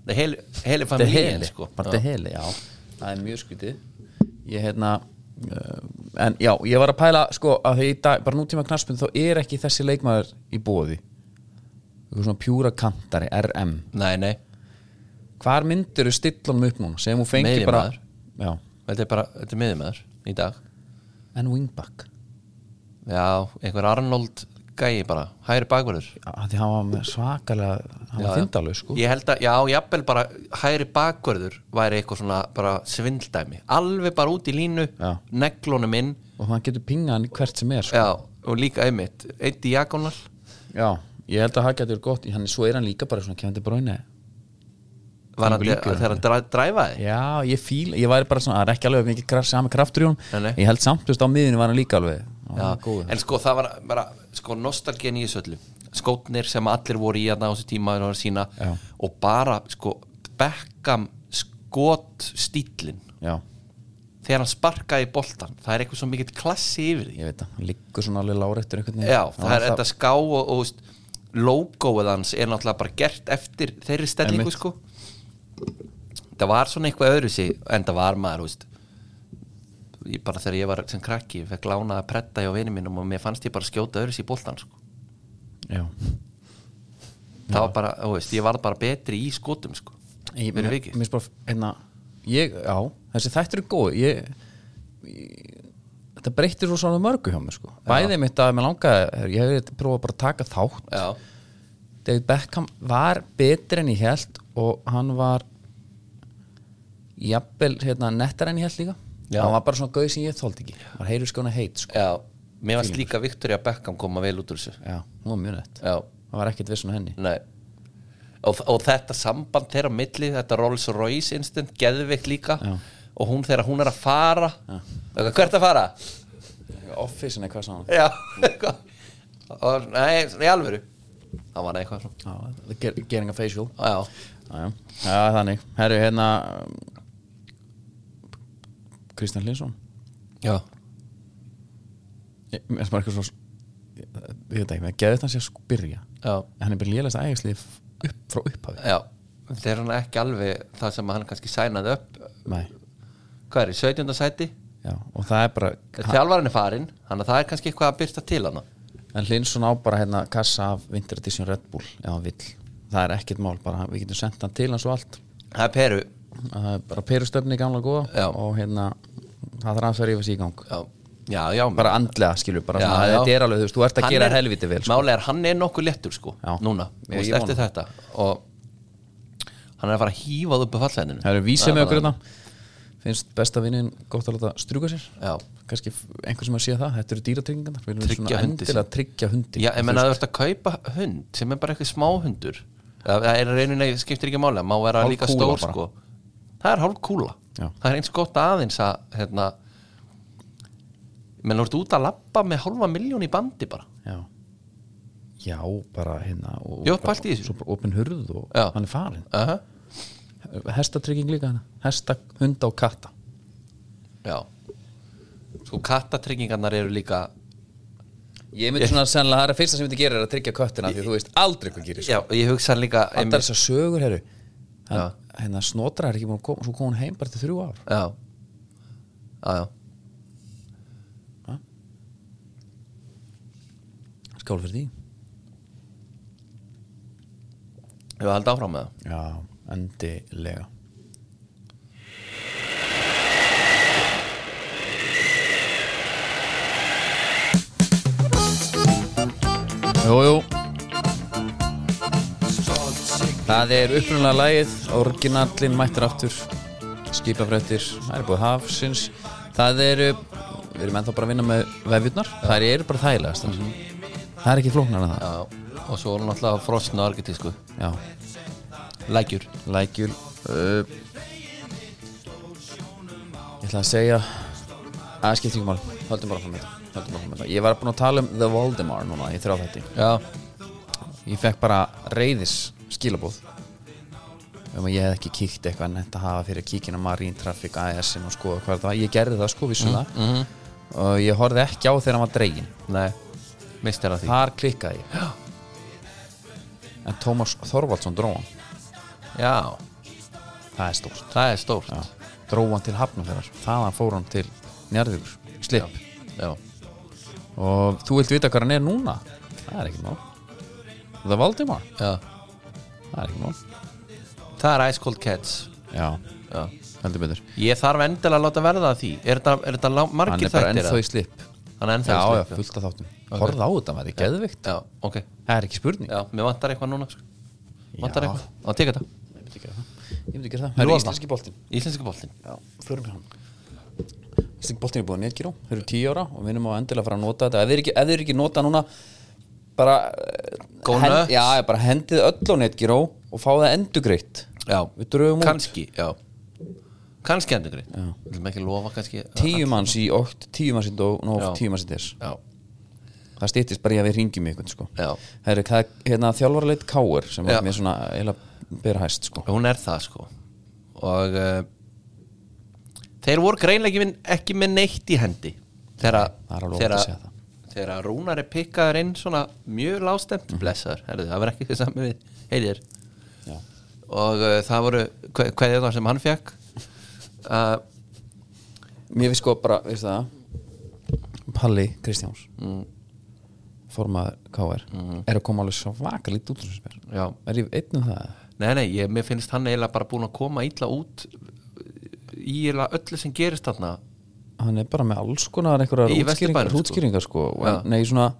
Speaker 2: það heili, heili
Speaker 1: þetta er
Speaker 2: familíin
Speaker 1: heli
Speaker 2: sko.
Speaker 1: bara
Speaker 2: Já.
Speaker 1: þetta er heli, já það er mjög skvitið ég hérna uh, en já, ég var að pæla sko að því í dag, bara nútíma knaspun þá er ekki þessi leikmaður í bóði eitthvað svona pjúra kantari, RM
Speaker 2: nei, nei,
Speaker 1: hvar myndir þú stillum upp núna sem hún fengi bara
Speaker 2: Miðjumaður.
Speaker 1: já,
Speaker 2: þetta er bara þetta er miðjumæður í dag
Speaker 1: en wingback
Speaker 2: já, einhver Arnold gæi bara, hægri bakverður
Speaker 1: að því hann var með svakalega hann var þindalög sko
Speaker 2: ég held að, já, jafnvel bara hægri bakverður væri eitthvað svona bara svindldæmi, alveg bara út í línu
Speaker 1: Já.
Speaker 2: neglunum inn
Speaker 1: og hann getur pingað hann hvert sem er sko.
Speaker 2: já, og líka einmitt, eitt diagonal
Speaker 1: já, ég held að það getur gott hann, svo er hann líka bara svona kefandi bráinu
Speaker 2: var hann
Speaker 1: Þvílíkur líkur,
Speaker 2: þegar hann dra- dræfaði
Speaker 1: já, ég fíl, ég væri bara svona það er ekki alveg mikið kraft, sami kraftur í
Speaker 2: Nei,
Speaker 1: hún
Speaker 2: nei.
Speaker 1: ég held samt, þú veist, á miðinu var hann líka alveg
Speaker 2: já,
Speaker 1: já, góður.
Speaker 2: en sko það var bara sko nostalgían í þessu öllu skótnir sem allir voru í að ná þessu tíma og, sína,
Speaker 1: Já.
Speaker 2: og bara sko Beckham skot stílin
Speaker 1: já,
Speaker 2: þegar hann sparkaði í boltan það er eitthvað svo mikill klassi yfir því
Speaker 1: ég veit það, hann liggur svona alveg láréttur einhvern veginn
Speaker 2: Já, það er þetta ská og, og veist, logoið hans er náttúrulega bara gert eftir þeirri stellingu
Speaker 1: Einmitt.
Speaker 2: sko Það var svona eitthvað öðru sig en það var maður, þú veist ég bara þegar ég var sem krakki ég fekk lánað að pretta hjá vinum mínum og mér fannst ég bara skjóta öðru sig í boltan sko.
Speaker 1: já,
Speaker 2: það var bara, þú veist, ég var bara betri í skotum sko,
Speaker 1: ég,
Speaker 2: fyrir vikið
Speaker 1: mér spara, hérna, ég, já, þessi þættur er góð ég, ég þetta breytir svo svona mörgu hjá mér sko bæðið mitt að mér langaði, herru, ég hefði prófað bara að taka þátt
Speaker 2: Já,
Speaker 1: David Beckham var betri en ég held og hann var jafnvel hérna, nettar en ég held líka
Speaker 2: Já.
Speaker 1: hann var bara svona gauð sem ég þóldi ekki var heyrðu skona heit sko.
Speaker 2: já, mér varst líka Victoria Beckham koma vel út úr þessu
Speaker 1: já, hún var mjög nett
Speaker 2: Já,
Speaker 1: hann var ekkert vissun á henni
Speaker 2: Nei og, og þetta samband þeirra á milli, þetta Rolls Royce instant geðveikt líka
Speaker 1: Já.
Speaker 2: og hún þegar hún er að fara eitthvað, hvert að fara?
Speaker 1: office en eitthvað svona
Speaker 2: Já, eitthvað og, nei, svona í alvöru það var eitthvað svona
Speaker 1: já, ger, getting a facial
Speaker 2: Já,
Speaker 1: já, já. já þannig, herru hérna Kristján Hlinsson
Speaker 2: já,
Speaker 1: ég er bara eitthvað svo ég ég veit ekki, með geðið hann sé að sko byrja
Speaker 2: já,
Speaker 1: En hann er bara lélast ægislið upp, frá upphafi
Speaker 2: já. þeir eru hann ekki alveg það sem hann kannski sænaði upp
Speaker 1: nei,
Speaker 2: hvað er í 17. sæti?
Speaker 1: já, og það er bara
Speaker 2: Þjálfarinn er farinn, þannig að það er kannski eitthvað að byrta til hana
Speaker 1: En Lindsson á bara hérna kassa af Winter Edition Red Bull ef hann vill, það er ekkert mál bara við getum sendt hann til hans og allt
Speaker 2: Það er Peru
Speaker 1: það er bara perustöfni gamla góða
Speaker 2: Já.
Speaker 1: og hérna það þarf að rífa sig í gang
Speaker 2: Já, já, já
Speaker 1: bara andlega skilur, bara
Speaker 2: Já,
Speaker 1: svona,
Speaker 2: já.
Speaker 1: þetta er alveg þú veist, þú ert að
Speaker 2: Hann
Speaker 1: gera
Speaker 2: er-
Speaker 1: helviti vel sko.
Speaker 2: Málið er, hann er nokkuð léttur sko
Speaker 1: Já.
Speaker 2: Núna,
Speaker 1: Ég-
Speaker 2: þú veist,
Speaker 1: ég
Speaker 2: eftir þetta Og hann er að fara að hýfað upp á fallhæðinu
Speaker 1: það eru vísið með okkur
Speaker 2: bara
Speaker 1: þetta finnst besta vinnin gott að láta strjúka sér
Speaker 2: Já,
Speaker 1: kannski f- einhver sem að sé það, þetta eru dýratryggingarnar við erum
Speaker 2: Tryggja
Speaker 1: svona
Speaker 2: hundi
Speaker 1: endilega tryggja hundi
Speaker 2: já en menna þú ert að kaupa hund Sem er bara eitthvað smáhundur Það það er reyninni, skiptir ekki máli hann Má vera
Speaker 1: Hálf
Speaker 2: líka
Speaker 1: kúla
Speaker 2: stór
Speaker 1: bara.
Speaker 2: sko Það er hálf kúla
Speaker 1: Já.
Speaker 2: Það er eins gott aðeins að hérna, Menn þú ert út að labba með hálfa miljón í bandi bara
Speaker 1: já. já, bara hérna og,
Speaker 2: Já,
Speaker 1: og bara-
Speaker 2: pælt í þessu.
Speaker 1: svo bara opin hurð og
Speaker 2: Já.
Speaker 1: hann er farin
Speaker 2: uh -huh.
Speaker 1: hestatrygging líka hana hesta, hunda og katta
Speaker 2: Já Sko kattatryggingarnar eru líka
Speaker 1: ég myndi svona sennilega, það er að fyrsta sem ég myndi gera er að tryggja köttina því að þú veist aldrei hvað gerir
Speaker 2: Já, ég hugsa líka
Speaker 1: alltaf
Speaker 2: einmitt-
Speaker 1: þessar sögur herru hann, hérna snotra er ekki búin að koma svo kom hún heim bara til þrjú ár
Speaker 2: Já Já, já
Speaker 1: skál fyrir því
Speaker 2: Ég var haldið áfram með það
Speaker 1: já, endilega Jú, jú Það er upprunalega lagið, orginallin mættur aftur, skipafrættir, það er búið hafsins, það eru, við erum ennþá bara að vinna með vefjurnar, það eru bara þægilegast mm það er ekki flóknar en það,
Speaker 2: Já, og svo er náttúrulega frosna argetísku
Speaker 1: já,
Speaker 2: Lækjur
Speaker 1: lækjul, uh, ætla að segja að það skiptir ekki mál, höldum bara fram þetta höldum bara fram þetta, ég var búin að tala um The Voldemar núna í þrjá þetta
Speaker 2: Já,
Speaker 1: ég fekk bara reyðis skilabóð um að ég hef ekki kíkt eitthvað en þetta hafa fyrir kíkina Marine Traffic AS-in og skoða hvað þetta var, ég gerði það sko vissum það og ég horfði ekki á þegar hann var dregin
Speaker 2: nei, mistir að því
Speaker 1: þar klikkaði ég en Tómas Þorvaldsson dró hann
Speaker 2: Já,
Speaker 1: það er stórt
Speaker 2: það er stórt Já,
Speaker 1: dró hann til Hafnarfjörðar, þaðan fór hann til Njarðvíkur, slip
Speaker 2: Já.
Speaker 1: og þú vilt vita hvað hann er núna það er ekkert mál The Valdimar,
Speaker 2: Já.
Speaker 1: það er ekkert mál
Speaker 2: Það er Ice Cold Cats
Speaker 1: já,
Speaker 2: Já.
Speaker 1: heldur betur
Speaker 2: Ég þarf endilega að láta verða að því Er þetta, er þetta lang-
Speaker 1: hann
Speaker 2: margir
Speaker 1: er bara
Speaker 2: þættir?
Speaker 1: ennþá í slip
Speaker 2: eða? Hann er ennþá
Speaker 1: já,
Speaker 2: í
Speaker 1: já,
Speaker 2: slip,
Speaker 1: fullt af þáttum horfða á þetta maður, það er geðvikt
Speaker 2: Já, ok
Speaker 1: það er ekki spurning
Speaker 2: Já, mér vantar eitthvað núna sko. Vantar
Speaker 1: Já.
Speaker 2: eitthvað Á, teka
Speaker 1: ég
Speaker 2: þetta
Speaker 1: myndi gera það, ég myndi gera það, það er
Speaker 2: Lofa.
Speaker 1: íslenski boltinn
Speaker 2: Íslenska boltinn
Speaker 1: Já, förum við hann Ísling boltin er búið að netgjörá, þau eru tíu ára og við erum á endilega að fara að nota þetta ef þið eru ekki, ef þið eru ekki nota núna bara, eh,
Speaker 2: Go nuts.
Speaker 1: já, bara hendið öll á netgjörá og fá það endugreitt
Speaker 2: Já
Speaker 1: Við drögum út.
Speaker 2: Kanski, já Kanski endur greið Við viljum ekki lofa kannski
Speaker 1: tíu manns í ótt, tíu manns í dó og
Speaker 2: Já.
Speaker 1: tíu manns í þess
Speaker 2: Já,
Speaker 1: það stýttist bara í að við ringjum ykkur sko.
Speaker 2: Já.
Speaker 1: Heru, það, er- hérna, þjálfarleit káur sem
Speaker 2: Já.
Speaker 1: var mér svona eila bera hæst sko.
Speaker 2: hún er það sko Og uh, Þeir voru greinlega ekki, með- ekki með neitt í hendi Þegar
Speaker 1: það er alveg
Speaker 2: þegar-
Speaker 1: óhætt að segja það. Mhm.
Speaker 2: Þegar að Rúnar er pikkaður inn svona mjög lástemt Blessaður, herðu, það var ekki þess að við Heiðir
Speaker 1: Já.
Speaker 2: og uh, það voru hverjaðar sem hann fekk uh,
Speaker 1: mér finnst sko bara, veist það Palli Kristjáns formaður káur er að koma alveg svakalít út úr þessu spyr.
Speaker 2: já,
Speaker 1: er ég einn um það
Speaker 2: nei nei, ég, mér finnst hann eiginlega bara búin að koma illa út í eiginlega öllu sem gerist þarna
Speaker 1: hann er bara með alls konar einhverjar
Speaker 2: Í
Speaker 1: útskýringar,
Speaker 2: Vesturbænum, sko.
Speaker 1: útskýringar sko. og
Speaker 2: Já.
Speaker 1: nei svona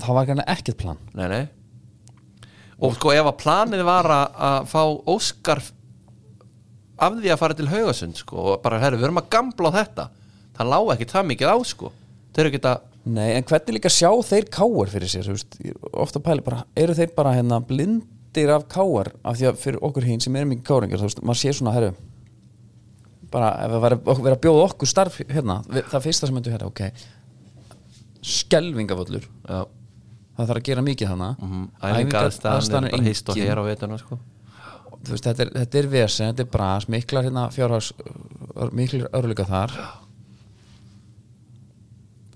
Speaker 1: það var gana ekkert plan
Speaker 2: nei nei og sko ef að planið var að, að fá Óskar af því að fara til Haugasund sko og bara herri, við erum að gambla á þetta það lág ekki það mikið á sko þau eru ekki að,
Speaker 1: nei en hvernig líka sjá þeir káur fyrir sér þú veist, ég er ofta pæli bara, eru þeir bara hérna blindir af káur af því að fyrir okkur hinn sem erum ekki káringar þú veist, maður sé svona herru bara ef það væri ok- verið að bjóða okkur starf hérna, við- það fyrsta sem myndu hérna ok skelvingavöllur
Speaker 2: já,
Speaker 1: það þarf að gera mikið hana mm
Speaker 2: mm, æfingaraðstæðan er bara hist og hér á veturna sko
Speaker 1: þú veist, þetta er, þetta er vesen, þetta er bras miklar hérna fjárhags ör, miklar örluga þar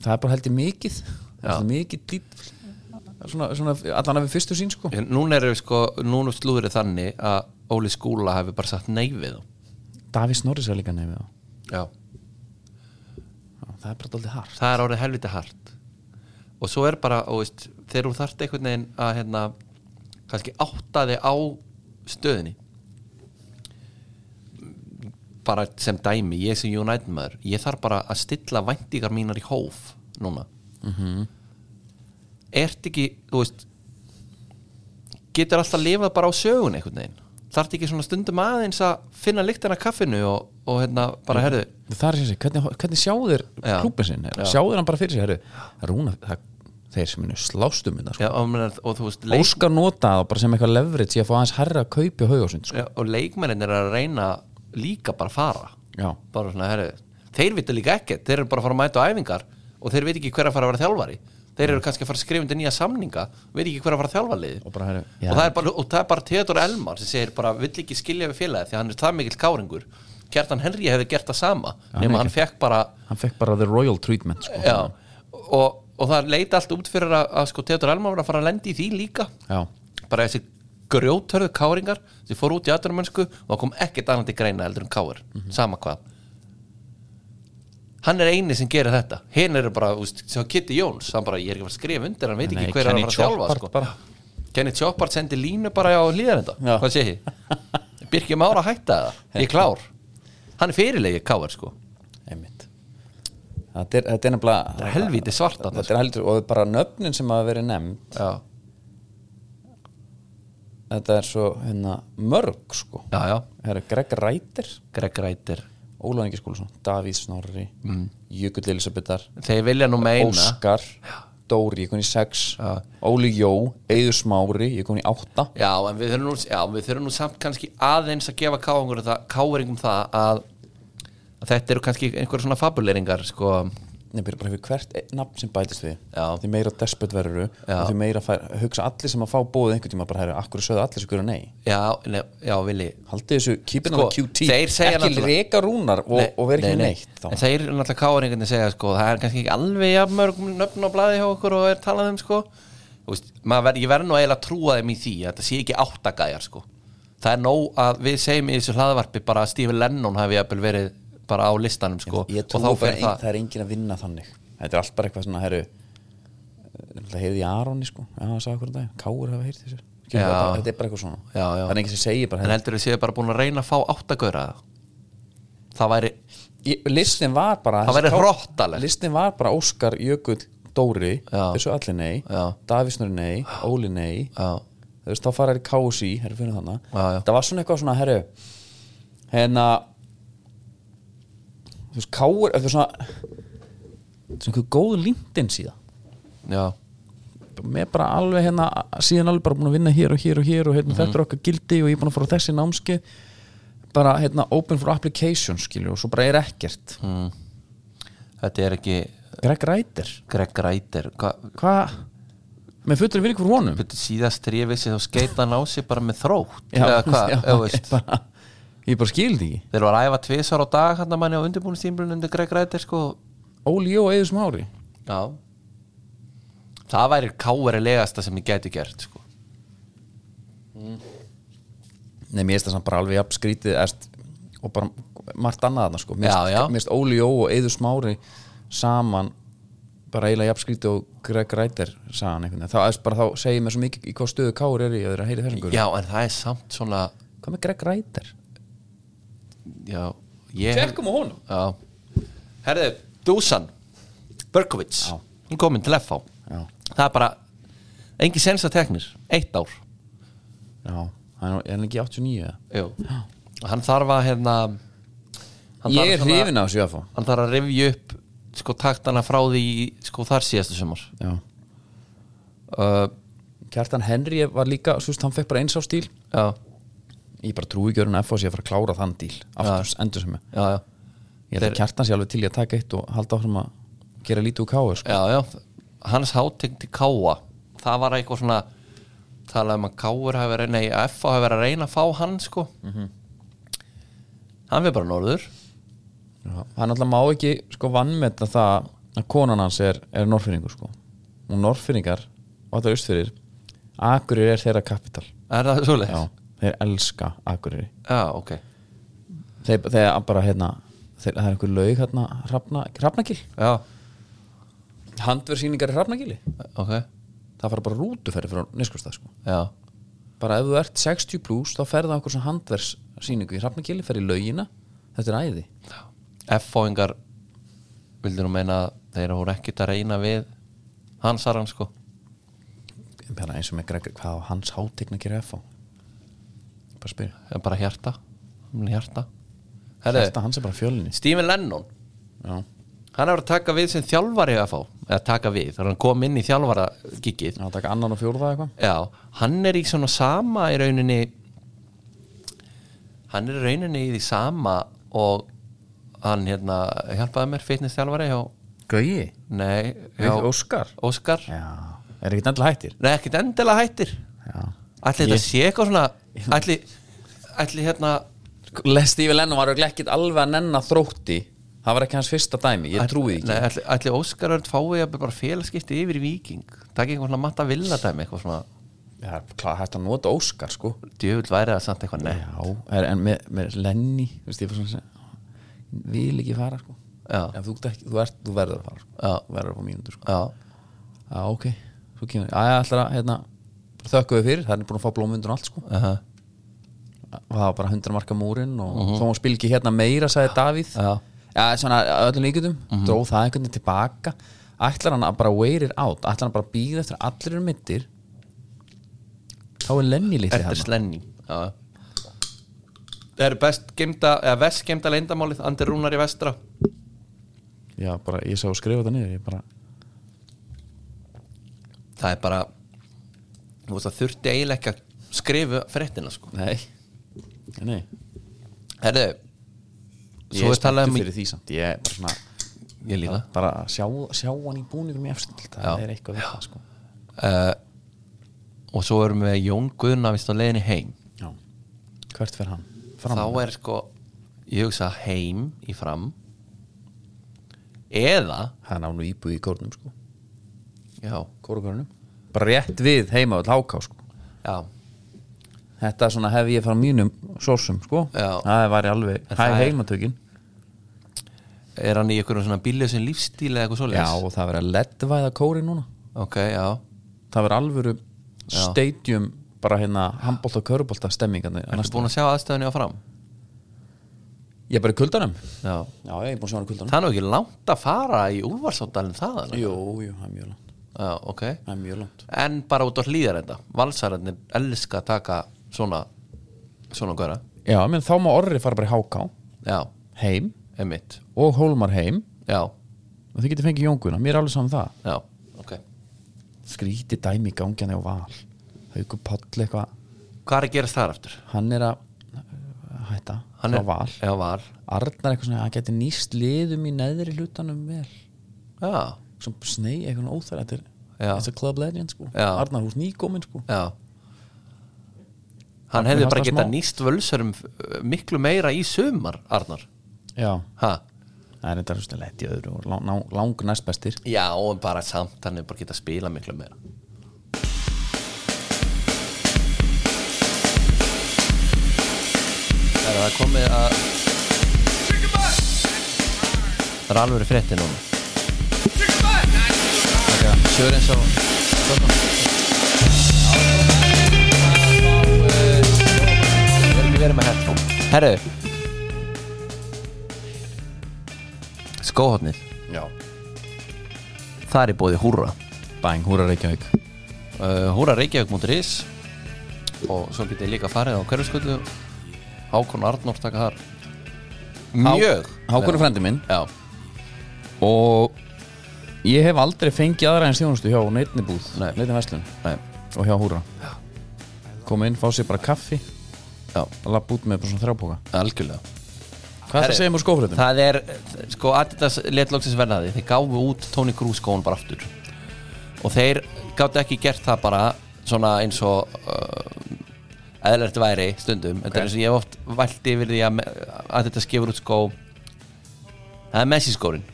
Speaker 1: það er bara held ég mikið held ég mikið dýt svona, svona allan að við fyrstu sín sko
Speaker 2: En Núna erum við sko, núna er slúðrið þannig að Óli Skúla hefur bara sagt nei við þá.
Speaker 1: Davís Norris er líka nefnir
Speaker 2: Já.
Speaker 1: það það er bara doldið hart
Speaker 2: Það er orðið helviti hart og svo er bara, og veist, þegar þú þarft einhvern veginn að hérna, kannski átta þig á stöðinni bara sem dæmi, ég sem United maður ég þarf bara að stilla væntingar mínar í hóf núna ert ekki, þú veist getur alltaf að lifa bara á sögun einhvern veginn þarf ekki svona stundum aðeins að finna lyktina af kaffinu og, og hérna bara herðu
Speaker 1: það er þessi, hvernig, hvernig sjáður
Speaker 2: Já.
Speaker 1: klúpa sinn,
Speaker 2: Já.
Speaker 1: sjáður hann bara fyrir sér heru, rúna, það, þeir sem munu slástum þetta sko.
Speaker 2: já, og, meina, og þú veist leik,
Speaker 1: Óskar nota það bara sem eitthvað leverage í að fá aðeins herra að kaupi á haugásund sko.
Speaker 2: já, og leikmennin er að reyna líka bara að fara
Speaker 1: já,
Speaker 2: bara svona herðu, þeir vita líka ekkert þeir eru bara að fara að mæta á æfingar og þeir veit ekki hver að fara að vera þjálfari þeir eru kannski að fara að skrifa undir nýja samninga veit ekki hver að fara að þjálfa liðið
Speaker 1: og bara heru, já,
Speaker 2: og það, er bara, og það er bara Theodor Elmar sem segir bara vill ekki skilja við félagið því að hann er það mikill káringur Kjartan Henry hefði gert það sama nema hann fekk bara
Speaker 1: hann fekk bara the royal treatment sko.
Speaker 2: já, og, og það leita allt út fyrir að, að sko, Theodor Elmar var að fara að lendi í því líka
Speaker 1: já
Speaker 2: bara þessi grjótörðu káringar sem fór út í aðdurumönsku og það kom ekkert annað til greina heldur en káir
Speaker 1: Mhm.
Speaker 2: sama hvað hann er eini sem gerir þetta hinn eru bara, úst, sem Kitty Jones hann bara, ég er ekki að fara að skrifa undir, hann veit
Speaker 1: Nei,
Speaker 2: ekki hver er að
Speaker 1: Kenny
Speaker 2: fara að þjálfa
Speaker 1: Choppart
Speaker 2: sko.
Speaker 1: bara.
Speaker 2: Kenny Choppart sendi línu bara á hlýðarenda,
Speaker 1: Já.
Speaker 2: hvað sé ég Birkir Már að hætta það, ég er klár hann er fyrirlegi káir sko
Speaker 1: einmitt þetta er, þetta er nefnilega
Speaker 2: Það er helvíti svart þarna, sko.
Speaker 1: þetta er heldur, og bara nöfnin sem hafa verið nefnd
Speaker 2: já,
Speaker 1: þetta er svo hérna, mörg sko
Speaker 2: já, já,
Speaker 1: það eru Greg Reiter,
Speaker 2: Greg Reiter
Speaker 1: Ólaun Ingi Skúlason Davíð Snorri, mm. Jökull Elisabethar
Speaker 2: þeir vilja nú meina
Speaker 1: Óskar, Dóri, ég kom í 6
Speaker 2: Já.
Speaker 1: Óli Jó, Eyður Smári ég kom í 8
Speaker 2: Já, en við þurfum nú, já, við þurfum nú samt kannski aðeins um að gefa káingum það, káingum það að, að þetta eru kannski einhverja svona fabuleringar sko,
Speaker 1: Nei, bara bara fyrir hvert einn nafn sem bætist við
Speaker 2: Já.
Speaker 1: því meira despot verður
Speaker 2: Já.
Speaker 1: og því meira fær, hugsa allir sem að fá bóðið einhvern tíma bara herra, akkur sögðu allir sem hverju nei
Speaker 2: já, ne, já, vilji
Speaker 1: haldið þessu, keepin
Speaker 2: Sko,
Speaker 1: on the QT
Speaker 2: þeir segja
Speaker 1: ekki
Speaker 2: náttúrulega-
Speaker 1: reka rúnar og, og vera ekki
Speaker 2: nei, nei.
Speaker 1: neitt þá.
Speaker 2: en það er náttúrulega káringarnir segja sko, það er kannski ekki alveg jafn mörg nöfn á blaði hjá okkur og er talað um sko. Þú veist, maður, ver- ég verð nú eiginlega að trúa þeim í því að þetta sé ekki áttagæjar sko. það er nóg að við segjum í þessu hlaðvarpi bara að Stephen Lennon hafi jafnvel verið bara á listanum sko,
Speaker 1: ég
Speaker 2: og
Speaker 1: trúi
Speaker 2: þá
Speaker 1: bara
Speaker 2: fyrir
Speaker 1: ein, það.
Speaker 2: það
Speaker 1: er engin að vinna þannig þetta er allt bara eitthvað svona herru það heyrði í Aroni sko já, það sagði okkur um dag, Káur hafa heyrði þessu Skilur,
Speaker 2: Já.
Speaker 1: þetta þetta er bara eitthvað svona
Speaker 2: Já, já.
Speaker 1: það er engin sem segir bara
Speaker 2: en
Speaker 1: herru,
Speaker 2: heldur við séu bara búin að reyna að fá áttagæra það væri
Speaker 1: ég, listin var bara
Speaker 2: Það væri
Speaker 1: þessi Ká-
Speaker 2: hrottalegt.
Speaker 1: listin var bara Óskar Jökull Dóri
Speaker 2: Já.
Speaker 1: þessu allir nei,
Speaker 2: Já.
Speaker 1: Davísnur nei Óli nei
Speaker 2: já,
Speaker 1: þú veist, þá fara þér í KSI, herru fyrir þannig
Speaker 2: Já, já.
Speaker 1: það var svona eitthvað svona, herru hérna þú veist, KR, þetta er svona þetta er einhver góð lintin síðan
Speaker 2: já,
Speaker 1: með bara alveg hérna síðan alveg bara búin að vinna hér og hér og hér og
Speaker 2: Mhm.
Speaker 1: hérna þetta er okkar gildi og ég er búin að fara á þessi námski bara hérna open for application skilju og svo bara er ekkert
Speaker 2: mm. þetta er ekki
Speaker 1: Greg Reiter,
Speaker 2: Greg Reiter hvað
Speaker 1: hvað með fullur virkur honum
Speaker 2: Betur síðast þegar ég vissi þá skeita hann á sig bara með þrótt
Speaker 1: Já,
Speaker 2: eða hvað,
Speaker 1: já,
Speaker 2: eða veist
Speaker 1: ég bara, ég bara skildi ekki
Speaker 2: þeir var að æfa tvisar á dag hann að manni á undirbúinstímlun undir Greg Rættir sko
Speaker 1: Óli Jó eða smári
Speaker 2: já það væri káverlegasta sem ég gæti gert sko
Speaker 1: Nei, mér finnst það samt bara alveg jafn skrítið erst, og bara margt annað þarna sko. Mér
Speaker 2: Já, já.
Speaker 1: finnst- mér finnst Óli Jó og Eður Smári saman bara eiginlega jafn skrítið og Greg Reiter sagan einhvern veginn. Þá, erst bara, þá segir mér svo mikið í hvað stöðu Kár er í að þeir að heyri þessum gurum.
Speaker 2: já en það er samt svona
Speaker 1: Hvað með Greg Reiter?
Speaker 2: já ég
Speaker 1: á honum.
Speaker 2: já herðu Dusan Berkovits
Speaker 1: Já.
Speaker 2: hún komin til FH
Speaker 1: Já,
Speaker 2: það er bara engin sensa teknir eitt ár
Speaker 1: já. Hann er- er hann ekki 89 eða?
Speaker 2: Jú. hann þarf að hérna hann
Speaker 1: Ég
Speaker 2: þarf
Speaker 1: er
Speaker 2: svona-
Speaker 1: hrifin af þessu jafn.
Speaker 2: hann þarf að rifja upp sko taktana frá því í, sko þar síðasta sumar
Speaker 1: Já.
Speaker 2: uh,
Speaker 1: Kjartan Henry var líka, svo veist, hann fekk bara eins á stíl.
Speaker 2: já,
Speaker 1: Ég bara trúi ekki örun að FH sé að fara að klára þann díl. Aftur, endur sem ég.
Speaker 2: já, já
Speaker 1: Ég held að Kjartan sé alveg til í að taka eitt og halda áfram að gera lítið úr káu, sko.
Speaker 2: já, já, hans hátegndi Káa það var eitthvað svona talað um að Káur hafi verið nei, að FA hafi verið að reyna að fá hann sko
Speaker 1: Mhm.
Speaker 2: hann við bara norður
Speaker 1: hann alltaf má ekki sko vannmeta það að konan hans er, er norfinningur sko og norfinningar og þetta er austfyrir Akureyri er þeirra kapital
Speaker 2: er það svo leið?
Speaker 1: Já, þeir elska Akureyri
Speaker 2: ok
Speaker 1: þeir, þeir bara hérna þeir, það er einhver laug hérna hrafna, hrafnagil
Speaker 2: já,
Speaker 1: handverðsýningar í hrafnagili
Speaker 2: ok,
Speaker 1: það fara bara rútuferði frá neskustað sko
Speaker 2: já
Speaker 1: bara ef þú ert 60 pluss þá ferða okkur svona handverðsýningu í hrafnagili fer í laugina, þetta er æði
Speaker 2: FA-ingar vildur nú meina að þeir voru ekkert að reyna við hans aran sko
Speaker 1: bara eins og með Gregor, hvað á hans hátegna gerir F á bara spyrir,
Speaker 2: Það er bara hjarta Hún er hjarta Herðu,
Speaker 1: þetta hans er bara fjölinni
Speaker 2: Stephen Lennon
Speaker 1: Já,
Speaker 2: hann hefur að taka við sem þjálfari að fá eða taka við, þannig að hann kom inn í þjálfara gigið,
Speaker 1: það taka annan og fjórða eitthvað
Speaker 2: já, hann er í svona sama í rauninni hann er í rauninni í því sama og hann hérna hjálpaði mér fitness þjálfari hjá,
Speaker 1: Gauji,
Speaker 2: nei,
Speaker 1: já.
Speaker 2: hjá
Speaker 1: Óskar
Speaker 2: Óskar,
Speaker 1: Já, er ekkert endilega hættir
Speaker 2: nei, ekkert endilega hættir
Speaker 1: Já
Speaker 2: ætli þetta sé eitthvað svona ætli, ætli hérna
Speaker 1: Steve Lennon var örugglega ekkert alveg að nenna þrótti Það var ekki hans fyrsta dæmi, ég trúi því ekki
Speaker 2: Nei, ætli, ætli Óskar Örn fái að bara félagskipti yfir í Víking takk einhvern svona matta villadæmi eitthvað svona,
Speaker 1: Já, klá, hægt að nota Óskar sko
Speaker 2: djöfull væri það samt eitthvað nei,
Speaker 1: Já, er, en með, með Lenny veist, ég, var svona sem- Vil ekki fara sko
Speaker 2: já,
Speaker 1: Ef þú, ert ekki, þú, ert, þú verður að fara sko.
Speaker 2: Já.
Speaker 1: Þú verður að fá mínútur sko
Speaker 2: já,
Speaker 1: Já, ok, svo kemur Já, ég ætlar að, hérna, þökkum við fyrir Það er búin að fá blómvindun og allt sko
Speaker 2: aha,
Speaker 1: það var bara 100 marka múrin og þó hún spil ekki hérna meira sagði Davíð
Speaker 2: Já.
Speaker 1: ja, svona að öllum líkjöndum dróð það einhvern veginn tilbaka ætlar hann að bara wait it out ætlar hann bara að býða eftir að allir eru mittir þá er Lenny litli
Speaker 2: eftir
Speaker 1: hérna
Speaker 2: slenni já það eru best gemda, eða vest gemda leindamálið Ander Rúnar í vestra
Speaker 1: já bara ég sá að skrifa þetta niður ég bara
Speaker 2: það er bara þú veist það þurfti eiginlega ekki að skrifa fréttina sko
Speaker 1: nei nei
Speaker 2: herðu,
Speaker 1: Ég
Speaker 2: Svo
Speaker 1: er
Speaker 2: er talað
Speaker 1: spenntur
Speaker 2: um-
Speaker 1: fyrir því samt Ég er bara svona
Speaker 2: ég líka
Speaker 1: Bara að sjá, sjá hann í búningum í efstild Það
Speaker 2: Já.
Speaker 1: er eitthvað við það sko
Speaker 2: og svo erum við Jón Guðna vist á leiðinni heim
Speaker 1: Já Hvert fer hann? Fram
Speaker 2: þá er sko ég hugsa heim í fram eða
Speaker 1: Hann á nú íbúið í kórnum sko
Speaker 2: já,
Speaker 1: Kórukörnum Bara rétt við heima öll háká sko
Speaker 2: já,
Speaker 1: Þetta svona hef ég frá mínum sósum sko
Speaker 2: Já.
Speaker 1: Það var alveg Hæ
Speaker 2: En það er-
Speaker 1: heimatökin
Speaker 2: er hann í einhverjum svona bíljöðsinn lífstíl eða eitthvað
Speaker 1: Já
Speaker 2: svoleiðis
Speaker 1: og það verið að leddvæða kórin núna
Speaker 2: ok, já,
Speaker 1: Það verið alvöru
Speaker 2: Já.
Speaker 1: stadium bara hérna handbólta og körubolta stemmingandi
Speaker 2: ertu búin að sjá aðstæðunni á fram
Speaker 1: Ég er bara í kuldanum
Speaker 2: já,
Speaker 1: Já, ég er búin að sjá hann í kuldanum
Speaker 2: það er nú ekki langt að fara í úlfarsóttalinn þaðan
Speaker 1: Jú, jú, það er mjög langt
Speaker 2: já, ok,
Speaker 1: Það er mjög langt
Speaker 2: en bara út á hlýðar enda valsararnir elska að taka svona svona góra,
Speaker 1: Já, menn þá má Orri fara bara í háká
Speaker 2: já,
Speaker 1: heim
Speaker 2: emitt
Speaker 1: og Hólmar heim
Speaker 2: já,
Speaker 1: og þið getur fengið Jónguna, mér er alveg saman það
Speaker 2: já, ok
Speaker 1: skríti dæmi í gangjana og val Hauku Páll eitthvað
Speaker 2: hvað er að gerast þar aftur?
Speaker 1: hann er að uh, hætta
Speaker 2: Hann
Speaker 1: frá
Speaker 2: er-
Speaker 1: val
Speaker 2: já, val,
Speaker 1: Arnar eitthvað svona, hann getur nýst liðum í neðri hlutanum vel
Speaker 2: já
Speaker 1: svona snei, eitthvað óþær þetta er
Speaker 2: Já.
Speaker 1: þetta er club legend sko
Speaker 2: Já.
Speaker 1: Arnar hús nýgómin sko
Speaker 2: Já Hann hefði
Speaker 1: fannst
Speaker 2: bara
Speaker 1: það
Speaker 2: getað
Speaker 1: smá.
Speaker 2: nýst völsörum uh, miklu meira í sumar, Arnar
Speaker 1: já,
Speaker 2: ha?
Speaker 1: það er þetta rústlega lett í öðru og lang, lang, lang næst bestir
Speaker 2: Já, en bara samt hann hefði bara getað spila miklu meira Er það komið að Það er alveg frétti núna okay. Sjöður eins og Við erum verið með herfum Herru Skóhotnið
Speaker 1: já,
Speaker 2: Það er í bóði húra
Speaker 1: bang, húra Reykjavík
Speaker 2: uh, Húra Reykjavík.is Og svo getið þið líka farið á hverfsköldu Hákon Arnór taka þar Mjög
Speaker 1: Hákonu frendi minn
Speaker 2: Já,
Speaker 1: og ég hef aldrei fengið aðra en stjónustu hjá neittni búð,
Speaker 2: Nei.
Speaker 1: neittni verslun
Speaker 2: nei,
Speaker 1: og hjá húra koma inn, fá sér bara kaffi
Speaker 2: já,
Speaker 1: og lappa út með bara svona þrjábóka
Speaker 2: algjörlega
Speaker 1: hvað
Speaker 2: Herri.
Speaker 1: það segir mér skófröðum?
Speaker 2: Það er, sko, Adidas let loksins verða því Þeir gáfu út Tony Cruz skóun bara aftur Og þeir gátu ekki gert það bara Svona eins og uh, Eðlert væri stundum Þetta er eins og ég hef oft vælt yfir því að Me- Adidas gefur út skó Það er Messi skórin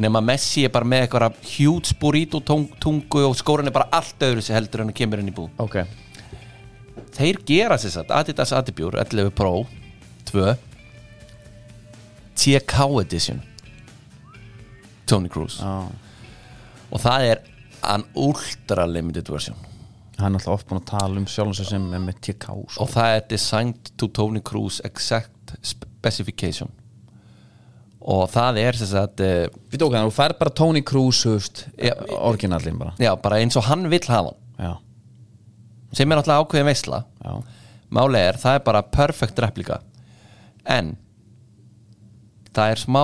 Speaker 2: Nema Messi er bara með eitthvað Huge burrito tung, tungu Og skórin er bara allt öðru sér heldur en hann kemur inn í bú
Speaker 1: ok,
Speaker 2: þeir gera sér satt Adidas Adibure 11 Pro 2 TK Edition Tony Cruz
Speaker 1: Já.
Speaker 2: og það er an ultra limited version
Speaker 1: hann er alltaf oft búin að tala um sjálfum sér sem er með TK sko.
Speaker 2: og það er designed to Tony Cruz exact specification og það er sér satt eh,
Speaker 1: við tókaðum, þú fær bara Tony Cruz höfst,
Speaker 2: Já.
Speaker 1: orginallin bara
Speaker 2: já, bara eins og hann vill hafa hann
Speaker 1: já,
Speaker 2: sem er náttúrulega ákveðin veisla
Speaker 1: já,
Speaker 2: Máli er, það er bara perfect replika En Það er smá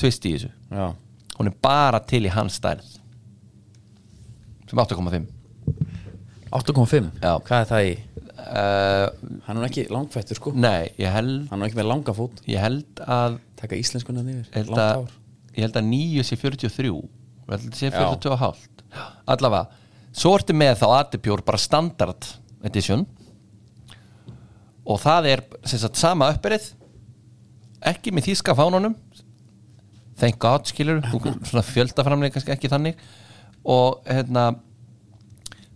Speaker 2: Tvist í þessu
Speaker 1: já
Speaker 2: Hún er bara til í hans stærð Sem 8,5
Speaker 1: 8,5,
Speaker 2: Já.
Speaker 1: hvað er það í?
Speaker 2: uh,
Speaker 1: hann er nú ekki langfættur sko
Speaker 2: Nei, ég held
Speaker 1: hann er nú ekki með langa fót,
Speaker 2: Ég held að
Speaker 1: taka íslenskunna yfir
Speaker 2: Ég held
Speaker 1: langt
Speaker 2: að,
Speaker 1: hár.
Speaker 2: ég held að 9 sé 43 Ég held að sé
Speaker 1: Já.
Speaker 2: 42 og hálft Allavega, svo ertu með þá Adipjór bara standard edition og það er sem sagt sama uppbyrðið ekki með þýska fánunum thank god skilur svona fjöldaframlega kannski ekki þannig og hérna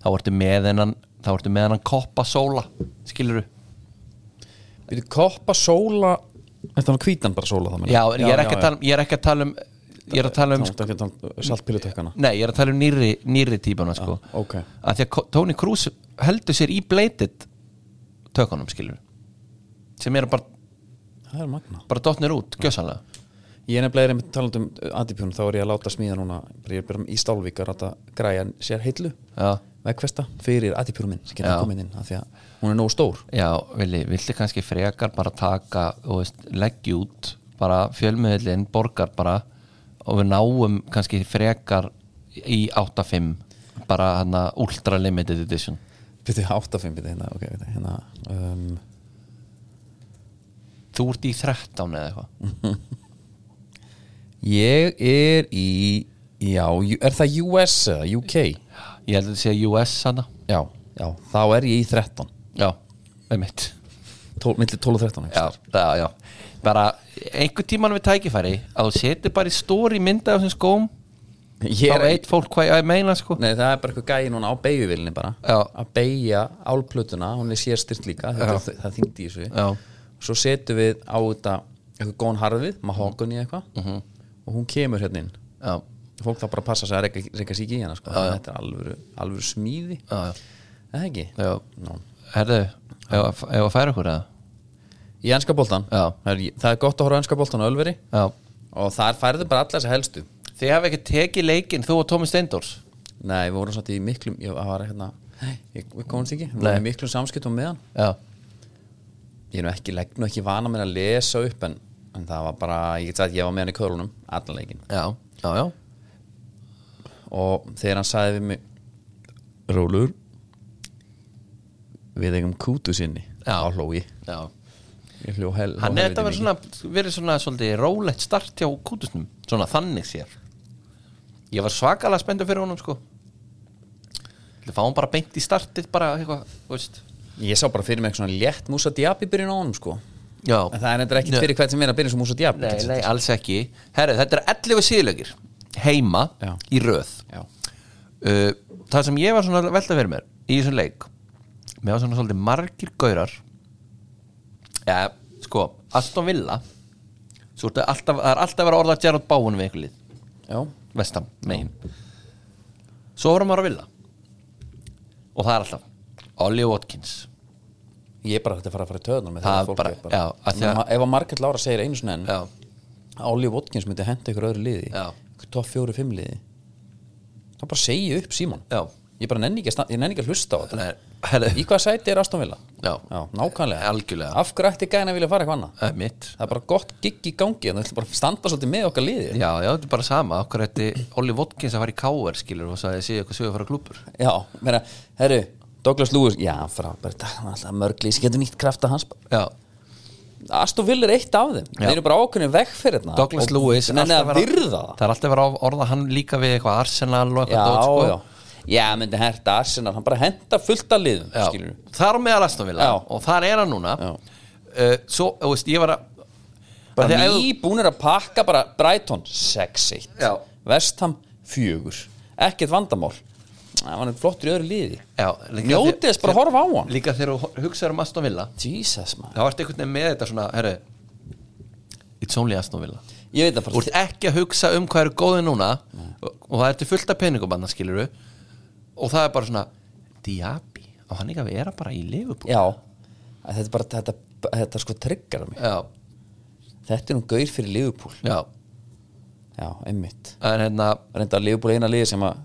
Speaker 2: þá ertu með hennan þá ertu með hennan koppa sóla skilur
Speaker 1: Býtu, koppa sóla Þetta er hann hvítan bara sóla það meina
Speaker 2: já, en ég er ekki að tala um ég er ekki að tala um ég er að tala um
Speaker 1: Þá ertu ekki að tala um saltpílutökkana
Speaker 2: Nei, ég er að tala um nýri, nýri típuna sko.
Speaker 1: Ah, ok.
Speaker 2: að Því að Ko- Tony Cruz heldur sér í bleitit tökunum skilur sem eru bara,
Speaker 1: Það er magna
Speaker 2: bara dotnir út, gjössanlega
Speaker 1: Ég er nefnilega er einmitt talandi um antipjónu Þá er ég að láta smíða núna bara Ég er bara í stálvík að ráta græja sér heillu
Speaker 2: Já,
Speaker 1: Vegfesta fyrir antipjónu minn sem
Speaker 2: Já.
Speaker 1: getur komin inn af Því að hún er nógu stór
Speaker 2: já villi, viltu kannski frekar bara taka og veist, leggja út bara fjölmiðlinn, borgar bara og við náum kannski frekar í 8.5 bara hann að ultra limited edition
Speaker 1: Býtu, 8-5 býtu hérna, ok, býtu, hérna um,
Speaker 2: Þú ert í 13 eða eitthvað
Speaker 1: Ég er í Já, ju- er það US eða UK? Mm.
Speaker 2: Ég held að þetta sé US hana
Speaker 1: Já, já, þá er ég í 13
Speaker 2: Já, einmitt
Speaker 1: 12, Milli 12 og 13
Speaker 2: já, já, já Bara einhver tíman við tækifæri að þú setur bara í stóri mynda á þessum skóm
Speaker 1: Ég
Speaker 2: þá
Speaker 1: er
Speaker 2: veit fólk hvað ég meina sko
Speaker 1: Nei, það er bara eitthvað gæði núna á beigjuvillinni bara
Speaker 2: Já.
Speaker 1: að beigja álplötuna, hún er sérstyrt líka þetta, er- það þyngdi í þessu
Speaker 2: Já.
Speaker 1: svo setjum við á þetta eitthvað góðan harfið, mahókunni eitthvað -hmm. og hún kemur hérna inn
Speaker 2: Já,
Speaker 1: fólk þá bara að passa sig að reyka, reyka sig ekki í hana sko. þetta er alvöru, alvöru smíði
Speaker 2: já, já,
Speaker 1: Er það ekki?
Speaker 2: já.
Speaker 1: Ná.
Speaker 2: Herðu, ef að færa okkur eða
Speaker 1: Í ennska boltan,
Speaker 2: Já.
Speaker 1: það er, það er gott að horfa á ennska boltan á Ölveri
Speaker 2: Já
Speaker 1: og þar færðu bara alla þessa helstu
Speaker 2: Þið hafa ekki tekið leikinn þú og Tómi Steindors
Speaker 1: Nei, við vorum satt í miklum ég var hérna, ég, við komumst ekki við vorum í miklum samskiptum með hann
Speaker 2: Já,
Speaker 1: ég er nú ekki legg nú ekki vana mér að lesa upp en, en það var bara, ég get sagt ég var með hann í körunum allan leikinn
Speaker 2: já, já, já
Speaker 1: og þegar hann sagði við mig Rólur við eigum kútu sinni
Speaker 2: Já.
Speaker 1: á hlói
Speaker 2: Já
Speaker 1: ég hljó hel
Speaker 2: Hann
Speaker 1: hló
Speaker 2: er
Speaker 1: helviti
Speaker 2: þetta verið svona, verið svona svolítið rólegt start hjá kútusnum Svona þannig sér Ég var svakalega spenntur fyrir honum sko Það fá hann bara beint í startið bara eitthvað, þú veist
Speaker 1: mikið. ég sá bara fyrir mig eitthvað svona létt Musa Diaby byrjun á honum sko en
Speaker 2: Já
Speaker 1: það er eitthvað ekki
Speaker 2: Nei.
Speaker 1: fyrir hvern sem er að byrja sem Musa Diaby
Speaker 2: Nei, nei, alls ekki Herri, þetta er 11 síðlögir Heima
Speaker 1: Já.
Speaker 2: í röð
Speaker 1: Já.
Speaker 2: uh, það sem ég var svona að velta fyrir mér í þessum leik mér var svona svolítið margir gaurar ja, sko Aston Villa svo ertu alltaf, það er alltaf að vera að orða Gerard Báun við einhver lið,
Speaker 1: Já.
Speaker 2: vestam megin svo voru maður að Villa og það er alltaf Ollie Watkins
Speaker 1: ég er bara þetta að fara að fara í töðunum með
Speaker 2: Það
Speaker 1: það
Speaker 2: er
Speaker 1: fólk
Speaker 2: bara-
Speaker 1: er bara,
Speaker 2: já, af því að-
Speaker 1: Ma- ef að Margaret Lára segir einu svona enn
Speaker 2: já,
Speaker 1: Olli Watkins myndi henda ykkur öðru liði
Speaker 2: Já.
Speaker 1: ykkur topp fjóru fimm liði þá bara segi ég upp Simon
Speaker 2: já,
Speaker 1: ég bara nenni ekki að, sta- ég nenni ekki að hlusta á þetta
Speaker 2: Nei, herri,
Speaker 1: í hvaða sæti er Aston Villa?
Speaker 2: já,
Speaker 1: Já, nákvæmlega
Speaker 2: algjörlega
Speaker 1: af hverju ætti gæna að vilja fara eitthvað annað?
Speaker 2: það er mitt
Speaker 1: það er bara gott gigg í gangi en það ætti bara að standa svolítið með okkar liði
Speaker 2: já, já, þetta er bara sama, okkur þetta Ollie Watkins að fara í káver skilur og sagði að segja eitthvað sögur fara klúpur
Speaker 1: já, meina, herru, Douglas Lewis já, frábært, það er alltaf mörgli sem getur nýtt krafta hans
Speaker 2: já,
Speaker 1: Aston Villa er eitt af þeim,
Speaker 2: Já.
Speaker 1: þeir eru bara ákveðin veg fyrir þetta
Speaker 2: Douglas
Speaker 1: Og-
Speaker 2: Lewis
Speaker 1: Nei, nei, að
Speaker 2: alltaf vera-
Speaker 1: virða það
Speaker 2: Það er alltaf verið að orða hann líka við eitthvað Arsenal og
Speaker 1: já,
Speaker 2: eitthvað dót, sko.
Speaker 1: já, já, myndi herta Arsenal hann bara henda fullt af liðum skilurðu.
Speaker 2: já. Þar á meðal Aston Villa
Speaker 1: Já.
Speaker 2: og þar er hann núna
Speaker 1: Já.
Speaker 2: uh, Svo, þú veist, ég var að
Speaker 1: bara
Speaker 2: Af því að ef-
Speaker 1: nýbúnir að pakka bara Brighton 6-1
Speaker 2: Já.
Speaker 1: Vestham 4 ekkert vandamál það var einn flottur í öðru liði
Speaker 2: já, líka
Speaker 1: Njótið
Speaker 2: þegar-
Speaker 1: þess bara að horfa á hann.
Speaker 2: Líka þegar þú ho- hugsaður um Aston Villa
Speaker 1: Jesus man
Speaker 2: þá ertu einhvern veginn með þetta svona, herru It's only Aston Villa
Speaker 1: ég veit það
Speaker 2: Þú
Speaker 1: bara
Speaker 2: ert ekki að hugsa um hvað eru góði núna og, og það ertu fullt af peningum annars skilur og það er bara svona Diaby, á hann ekki að vera bara í Liverpool
Speaker 1: já að þetta er bara þetta, þetta sko tryggar mig
Speaker 2: Já,
Speaker 1: þetta er nú gaur fyrir Liverpool
Speaker 2: já,
Speaker 1: já einmitt
Speaker 2: en hérna
Speaker 1: reynda að Liverpool er eina liði sem að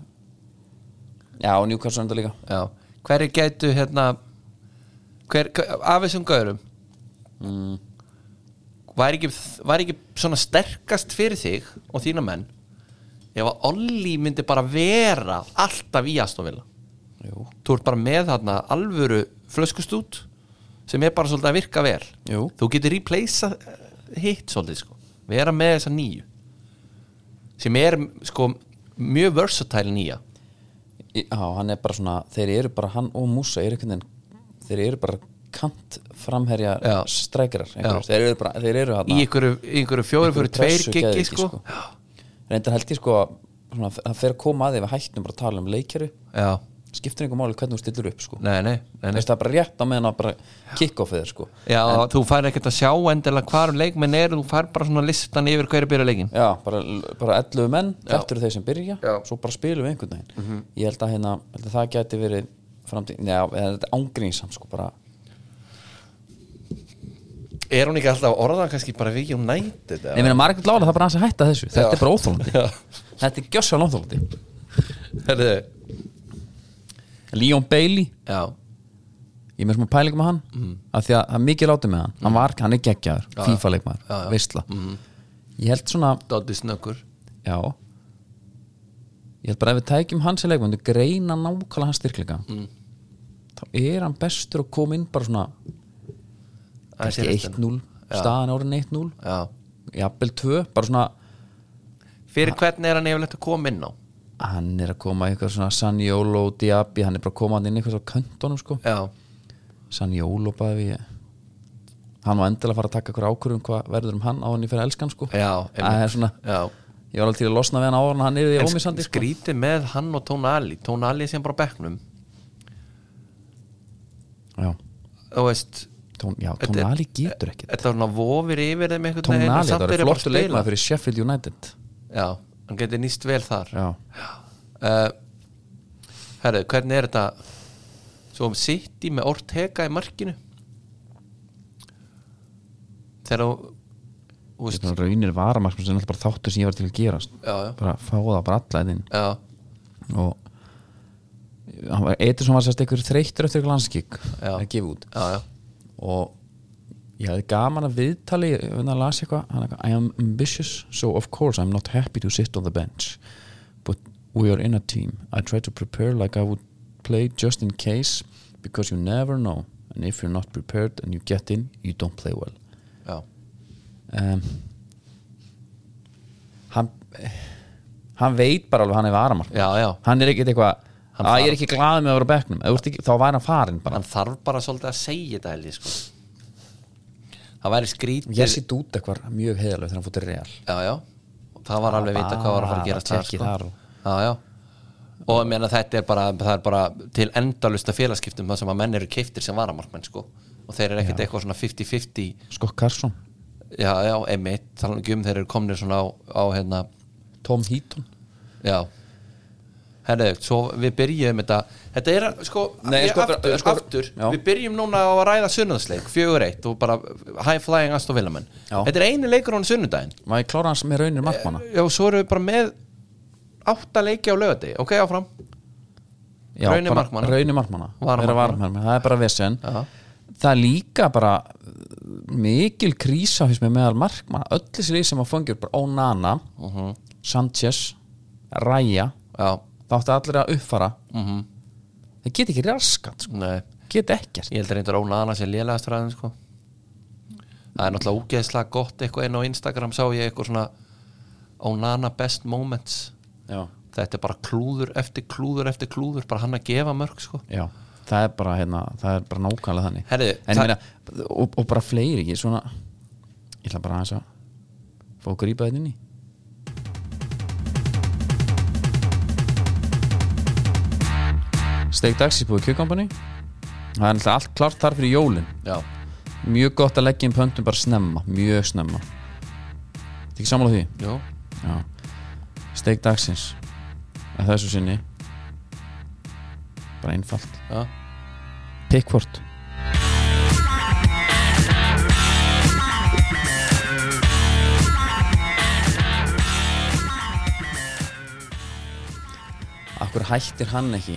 Speaker 1: já og Newcastle reynda líka
Speaker 2: Já, hverju gætu hérna hver, hver, af þessum gaurum var, ekki, var ekki svona sterkast fyrir þig og þína menn ef að Olli myndi bara vera alltaf í Astovilla
Speaker 1: jú
Speaker 2: þú ert bara með þarna alvöru flöskustút sem er bara svolítið að virka vel
Speaker 1: Jú.
Speaker 2: þú getur replacea hitt svolítið sko vera með þessa nýju sem er sko mjög versatile nýja
Speaker 1: Í- Já, hann er bara svona, þeir eru bara hann og Musa eru einhvern veginn, þeir eru bara kant framherja
Speaker 2: Já.
Speaker 1: streikrar þeir eru bara, þeir eru hann
Speaker 2: í einhverju, í einhverju fjóri fyrir tveir giggi sko.
Speaker 1: reyndar held ég sko að svona, það fer að koma að því við hættum bara að tala um leikjöru
Speaker 2: Já,
Speaker 1: skiptir einhver máli hvernig þú stillur upp sko
Speaker 2: nei, nei, nei, nei.
Speaker 1: Veist, það er bara rétt á meðan að bara kickoffið er sko
Speaker 2: Já, þú fær ekkert að sjá endilega hvar leikmenn er þú fær bara svona listan yfir hverju byrja leikin
Speaker 1: Já, bara, bara 11 menn, þetta eru þeir sem byrja svo bara spilum við einhvern veginn
Speaker 2: Mhm.
Speaker 1: ég held að, hérna, held að það gæti verið framtíð, já, eða þetta ángrinsam sko bara,
Speaker 2: Er hún ekki alltaf að orða kannski bara við United
Speaker 1: Nei, meina, Margrét Lára það er bara aðeins að hætta þessu Þetta er bara óþólandi Þetta er gjössan óþólandi
Speaker 2: Herðu,
Speaker 1: Leon Bailey,
Speaker 2: já,
Speaker 1: ég er með smá pæling með hann af því að það er mikið látið með hann hann, var, hann er geggjaður,
Speaker 2: Mhm. Já,
Speaker 1: FIFA-leikmaður,
Speaker 2: já.
Speaker 1: veistla
Speaker 2: mhm.
Speaker 1: Ég held svona,
Speaker 2: Doddi Snökkur
Speaker 1: já Ég held bara að ef við tækjum hans í leikmaður greina nákvæmlega hans styrkleika
Speaker 2: Mhm.
Speaker 1: þá er hann bestur að koma inn bara svona kannski 1-0, staðan orðin 1-0
Speaker 2: Já.
Speaker 1: jafnvel 2, bara svona
Speaker 2: Fyrir hvernig er hann yfirleitt að koma inn á
Speaker 1: hann er að koma eitthvað svona Sanjólo, Diaby, hann er bara að koma hann inn eitthvað á köntunum sko
Speaker 2: Já,
Speaker 1: Sanjólo bæði við hann var endilega að fara að taka eitthvað ákvörðum hvað verður um hann á hann í fyrir elskan sko
Speaker 2: Já, einmitt.
Speaker 1: það er svona,
Speaker 2: já
Speaker 1: ég var alveg til að losna við hann á hann hann er því
Speaker 2: En
Speaker 1: ómissandi sko.
Speaker 2: skrítið með hann og Tónali Tónali sem bara á bekknum
Speaker 1: já,
Speaker 2: Þú veist
Speaker 1: tón, já,
Speaker 2: Þetta er-
Speaker 1: tónali getur ekkit
Speaker 2: Þetta var svona vofir yfir þeim einhvern veginn,
Speaker 1: tónali,
Speaker 2: en samt
Speaker 1: það var
Speaker 2: eru bara að
Speaker 1: flottu
Speaker 2: spila.
Speaker 1: leikmað fyrir Sheffield United
Speaker 2: Já, hann getur nýst vel þar
Speaker 1: já,
Speaker 2: uh, Herðu, hvernig er þetta Svo um City með Ortega í markinu Þegar þú Þú veist
Speaker 1: þetta er raunir varamark sem er alltaf bara þáttur sem ég var til að gerast
Speaker 2: Já, já,
Speaker 1: bara fá það bara alla einn
Speaker 2: já,
Speaker 1: og hann var, Edison var sérst einhver þreyttur eftir glanskik
Speaker 2: Já.
Speaker 1: að gefa út
Speaker 2: já, já.
Speaker 1: og ég hafði gaman að viðtali en að las eitthvað, hann eitthvað I am ambitious, so of course I'm not happy to sit on the bench but we are in a team I try to prepare like I would play just in case because you never know and if you're not prepared and you get in you don't play well
Speaker 2: já.
Speaker 1: um, hann hann veit bara alveg að hann er varamar
Speaker 2: Já, já.
Speaker 1: hann er ekkit eitthvað
Speaker 2: Hann
Speaker 1: að ég
Speaker 2: farin.
Speaker 1: er ekki glaðið með að vera á bekknum Ef þú ert ekki, þá væri hann farin bara
Speaker 2: Hann þarf bara svolítið að segja þetta held ég sko Það væri skrítið
Speaker 1: ég sé dút eitthvað mjög heiðalega þegar hann fótið real
Speaker 2: já, já. það var alveg vita hvað var að fara að gera
Speaker 1: Bara tekið
Speaker 2: þar,
Speaker 1: þar og-
Speaker 2: sko. já, já. og ég meina þetta er bara, það er bara til endalusta félagskiptum það sem að menn eru keiftir sem varamarkmenn sko. og þeir eru ekkert eitthvað svona 50-50
Speaker 1: Skokk Karsson,
Speaker 2: já, já, emitt, talan ekki um þeir eru komnir svona á, á hérna,
Speaker 1: Tom Heaton
Speaker 2: já Herðu, svo við byrjum þetta Þetta er, að- sko,
Speaker 1: Nei,
Speaker 2: ég-
Speaker 1: sko,
Speaker 2: aftur,
Speaker 1: bara- sko,
Speaker 2: aftur
Speaker 1: já.
Speaker 2: Við byrjum núna á að ræða sunnudagsleik 4-1 og bara high flying Aston Villamenn
Speaker 1: Já.
Speaker 2: Þetta er eini leikur án sunnudaginn
Speaker 1: maður klára hans með
Speaker 2: Eh,
Speaker 1: raunir markmanna
Speaker 2: Já, og svo erum við bara með átta leiki á lögati, ok, áfram
Speaker 1: Já,
Speaker 2: Raunir
Speaker 1: bara
Speaker 2: markmanna.
Speaker 1: raunir markmanna.
Speaker 2: Varamarkmanna.
Speaker 1: Vera varamarkmanna. það er bara vesen
Speaker 2: Já.
Speaker 1: það er líka bara uh, mikil krísa fyrst með meðal markmanna öll þessi lið sem að fangir bara Onana Sanchez Raya,
Speaker 2: Mhm. Já, mhm.
Speaker 1: þá áttu allir að uppfara það get ekki raskat sko.
Speaker 2: nei,
Speaker 1: get ekkert
Speaker 2: ég held að reyndar óna annars ég lélegast ræðin, sko Það er náttúrulega úgeðslega gott eitthvað inn á Instagram sá ég eitthvað svona Onana best moments
Speaker 1: Já.
Speaker 2: Þetta er bara klúður eftir klúður eftir klúður bara hann að gefa mörg, sko
Speaker 1: Já, það er bara, hérna, það er bara nákvæmlega þannig
Speaker 2: Herðu,
Speaker 1: en ég
Speaker 2: það-
Speaker 1: meina, og, og bara fleiri ekki svona ég ætla bara aðeins að fá að grípa þetta inn í Steik dagsins búið kjökkampani það er alltaf allt klart þar fyrir jólin
Speaker 2: Já,
Speaker 1: mjög gott að leggja inn pöntum bara snemma mjög snemma þetta ekki sammála því?
Speaker 2: jú,
Speaker 1: Já Steik dagsins að þessu sinni bara einfalt
Speaker 2: já
Speaker 1: Pickford Akkur hættir hann ekki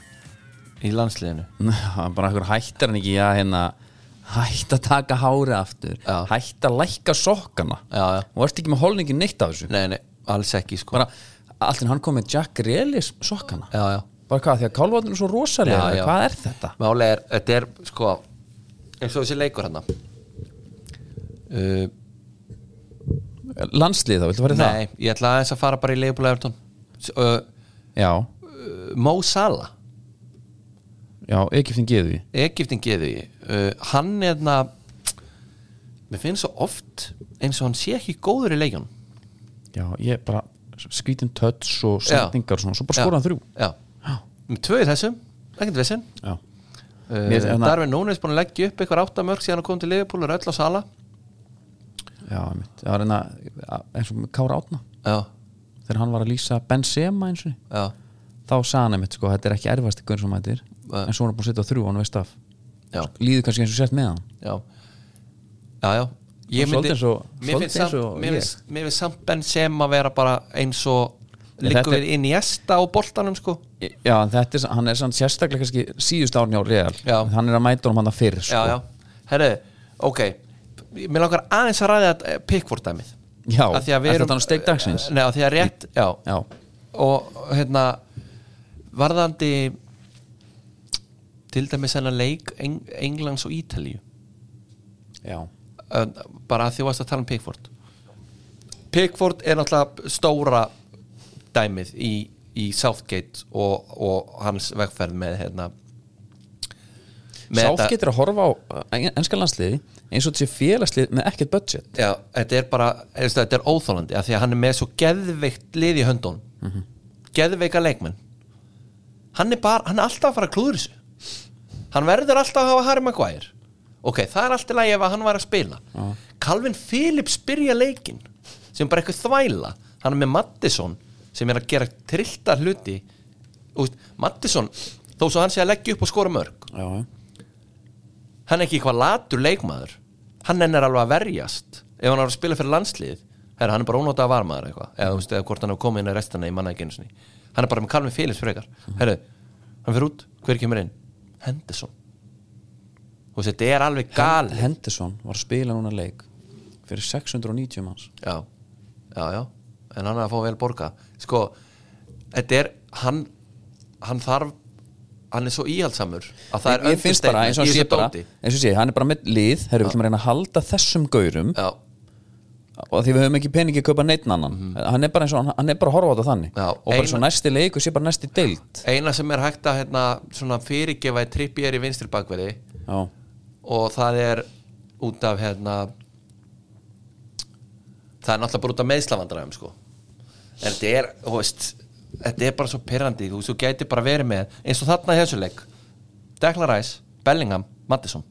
Speaker 2: Í landsliðinu
Speaker 1: Ná, bara akkur hættir hann ekki að hérna hætt að taka hárið aftur
Speaker 2: Já.
Speaker 1: hætt að lækka sokkana
Speaker 2: Já, já.
Speaker 1: og ert ekki með holningi neitt af þessu
Speaker 2: Nei, nei, alls ekki, sko
Speaker 1: bara allt en hann kom með Jack Reelis sokkana
Speaker 2: Já, já
Speaker 1: bara hvað, því að kálvarnir er svo rosalega
Speaker 2: Já, já.
Speaker 1: hvað er þetta?
Speaker 2: Máli er, þetta er sko eins og þessi leikur hérna uh,
Speaker 1: landslið þá, viltu fara í það?
Speaker 2: Nei, ég ætla aðeins að fara bara í leifbúlega Evertón uh,
Speaker 1: já,
Speaker 2: Mo Salah
Speaker 1: já, Egyptin geði við
Speaker 2: Egiptin geði uh, hann er þarna mér finnst svo oft eins og hann sé ekki góður í leikjunum
Speaker 1: já, ég bara skvítin tötts og sendingar og svona, svo bara skora hann þrjú
Speaker 2: Já,
Speaker 1: Já.
Speaker 2: með tvö í þessum, ekkert vissin
Speaker 1: já, Mér finnst
Speaker 2: uh,
Speaker 1: hérna-
Speaker 2: Darvin Núnes búin að leggja upp eitthvað áttamörk síðan að koma til leifbúlega öll á Salah
Speaker 1: já, einmitt. það var einna eins og með Kára Átna
Speaker 2: Já,
Speaker 1: þegar hann var að lýsa Benzema eins og
Speaker 2: já,
Speaker 1: þá sagði hann einmitt, sko, þetta er ekki erfast ykkur sem þetta er,
Speaker 2: Nei.
Speaker 1: en svo er hann búin að setja á þrjú og hann veist af, Sko,
Speaker 2: já
Speaker 1: líður kannski eins og sett með hann
Speaker 2: já já, já. Ég
Speaker 1: Svolítið eins og-
Speaker 2: mér
Speaker 1: svolítið
Speaker 2: finnst samt,
Speaker 1: eins og
Speaker 2: mér
Speaker 1: ég.
Speaker 2: finnst, mér finnst samt Benzema vera bara eins og
Speaker 1: Nei,
Speaker 2: liggur
Speaker 1: þetta er-
Speaker 2: við inn í esta á boltanum sko
Speaker 1: já, en þetta er, hann er samt sérstaklega kannski síðust árni á Real,
Speaker 2: Já.
Speaker 1: hann er að mæta honum hann það fyrr, sko
Speaker 2: já, já, herru, ok mér langar aðeins að ræða eh, Pickford dæmið
Speaker 1: Já,
Speaker 2: Af því að við
Speaker 1: er
Speaker 2: erum-
Speaker 1: þetta hann um steik dagsins?
Speaker 2: Nei, af því að rétt, já,
Speaker 1: já,
Speaker 2: og hérna varðandi til dæmis hennar leik Eng Englands og Ítalíu
Speaker 1: já,
Speaker 2: uh, bara að því varst að tala um Pickford Pickford er náttúrulega stóra dæmið í, í Southgate og, og hans vegferð með hérna
Speaker 1: Sátt
Speaker 2: þetta-
Speaker 1: getur að horfa á ennska landsliði eins og þessi félagslið með ekkert budget
Speaker 2: Já, þetta er bara, eftir, þetta er óþólandi af því að hann er með svo geðveikt lið í höndunum geðveika leikmenn hann er bara, hann er alltaf að fara að klúður þessu hann verður alltaf að hafa Harry Maguire ok, það er alltaf lægi ef að hann var að spila Calvin Phillips byrja leikinn sem er bara eitthvað þvæla hann er með Mattisson sem er að gera trillta hluti Þú veist, Mattisson, þó svo hann sé að leggja upp og skora mörg
Speaker 1: Já,
Speaker 2: hann er ekki eitthvað latur leikmaður hann er alveg að verjast ef hann er að spila fyrir landslið herra, hann er bara ónótað að varmaður eitthvað eða, þú veist, eða hvort hann er komið inn í restina í mannaðeginu sinni hann er bara með Kalmi Félix frekar herru, hann fyrir út, hver kemur inn Henderson Þú veist, þetta er alveg gal
Speaker 1: Henderson var að spila núna leik fyrir 690 manns
Speaker 2: já, já, já en hann er að fá vel borga sko, þetta er hann, hann þarf hann er svo íhaldsamur að það er
Speaker 1: Ég finnst bara, eins og
Speaker 2: understatement í
Speaker 1: hann sé
Speaker 2: þessu
Speaker 1: bara
Speaker 2: dóti.
Speaker 1: eins og sé, hann er bara með lið, herru, við ætlum að reyna að halda þessum gaurum
Speaker 2: já,
Speaker 1: og því við höfum ekki peningi að kaupa neitt annan hann er bara eins og, hann, hann er bara að horfa á þetta þannig
Speaker 2: Mhm. Já,
Speaker 1: og bara
Speaker 2: eina-
Speaker 1: svo næsti leik og sé bara næsti deild
Speaker 2: eina sem er hægt að hérna, svona fyrirgefa í trippi er í vinstri bakverði
Speaker 1: Já,
Speaker 2: og það er út af hérna það er náttúrulega bara út af meðslavandræðum sko en þetta er, þú veist þetta er bara svo pyrrandi, þú veist, þú gæti bara verið með eins og þarna í þessu leik Declan Rice, Bellingham, Mattisson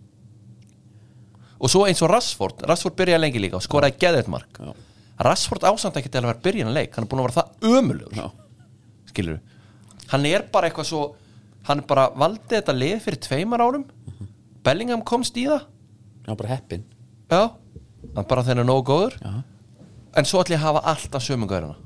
Speaker 2: og svo eins og Rashford Rashford byrjaði lengi líka og skoraði geðið mark
Speaker 1: Já.
Speaker 2: Rashford ásamt ekki til að vera byrjan leik hann er búin að vera það ömulugur
Speaker 1: já,
Speaker 2: skilur hann er bara eitthvað svo hann bara valdi þetta lið fyrir tveimar árum Bellingham komst í það
Speaker 1: já bara heppin
Speaker 2: já, hann bara þennan nógu góður
Speaker 1: Já,
Speaker 2: en svo ætla ég að hafa alltaf sömungörina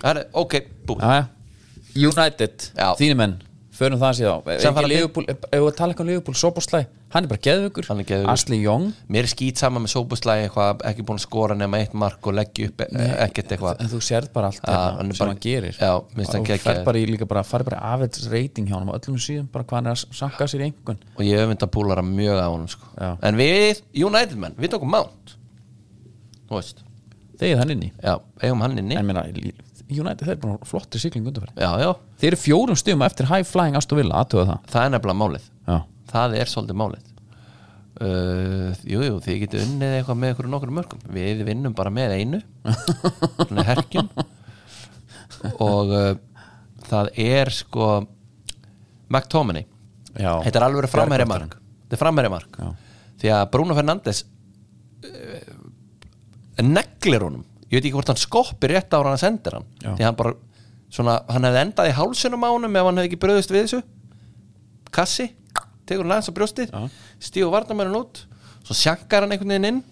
Speaker 2: það er ok, bú
Speaker 1: já, já. United,
Speaker 2: Já.
Speaker 1: þínu menn förum það síðan á Ef
Speaker 2: Samfara-
Speaker 1: ekki Liverpool- ef- ef við tala eitthvað um Liverpool, Soboslæ hann er bara geðvögur,
Speaker 2: Hann er geðveikur.
Speaker 1: Asli Young
Speaker 2: mér er skýt sama með sóbúslægi eitthvað ekki búin að skora nema eitt mark og leggja upp Nei, ekkert eitthvað
Speaker 1: en þú sérð bara allt
Speaker 2: Já,
Speaker 1: hérna,
Speaker 2: hann er
Speaker 1: sem
Speaker 2: bara-
Speaker 1: hann gerir
Speaker 2: Já, minnst hann
Speaker 1: og
Speaker 2: geggjaður.
Speaker 1: fer bara í líka bara, farið bara afið reyting hjá hann og öllum síðan bara hvað hann er að sakka sér í einhvern
Speaker 2: og ég öfnda búlara mjög á honum sko.
Speaker 1: Já.
Speaker 2: en við, United menn, við tókum Mount þú veist
Speaker 1: þegið hann inn í
Speaker 2: já, eigum hann inni
Speaker 1: en meina, United þeir eru bara flotti sigling undanferð
Speaker 2: já, já,
Speaker 1: þeir eru fjórum stíðum eftir high flying Aston Villa aðtöða það
Speaker 2: það er nefnilega málið
Speaker 1: já.
Speaker 2: það er svolítið málið uh, jú, jú, þið getur unnið eitthvað með ykkur nokkur mörgum við vinnum bara með einu svona herkjum og uh, það er sko McTominay
Speaker 1: Já.
Speaker 2: þetta er alveg framherja mark þetta er framherja mark
Speaker 1: Já.
Speaker 2: því að Bruno Fernandes uh, neglir honum ég veit ekki hvort hann skoppir rétt ára hann sendir hann
Speaker 1: Já.
Speaker 2: því hann bara svona, hann hefði endað í hálsunum á honum ef hann hefði ekki bröðust við þessu kassi, tekur hann aðeins á brjóstið
Speaker 1: Já.
Speaker 2: stígur varnamörun út svo sjankar hann einhvern veginn inn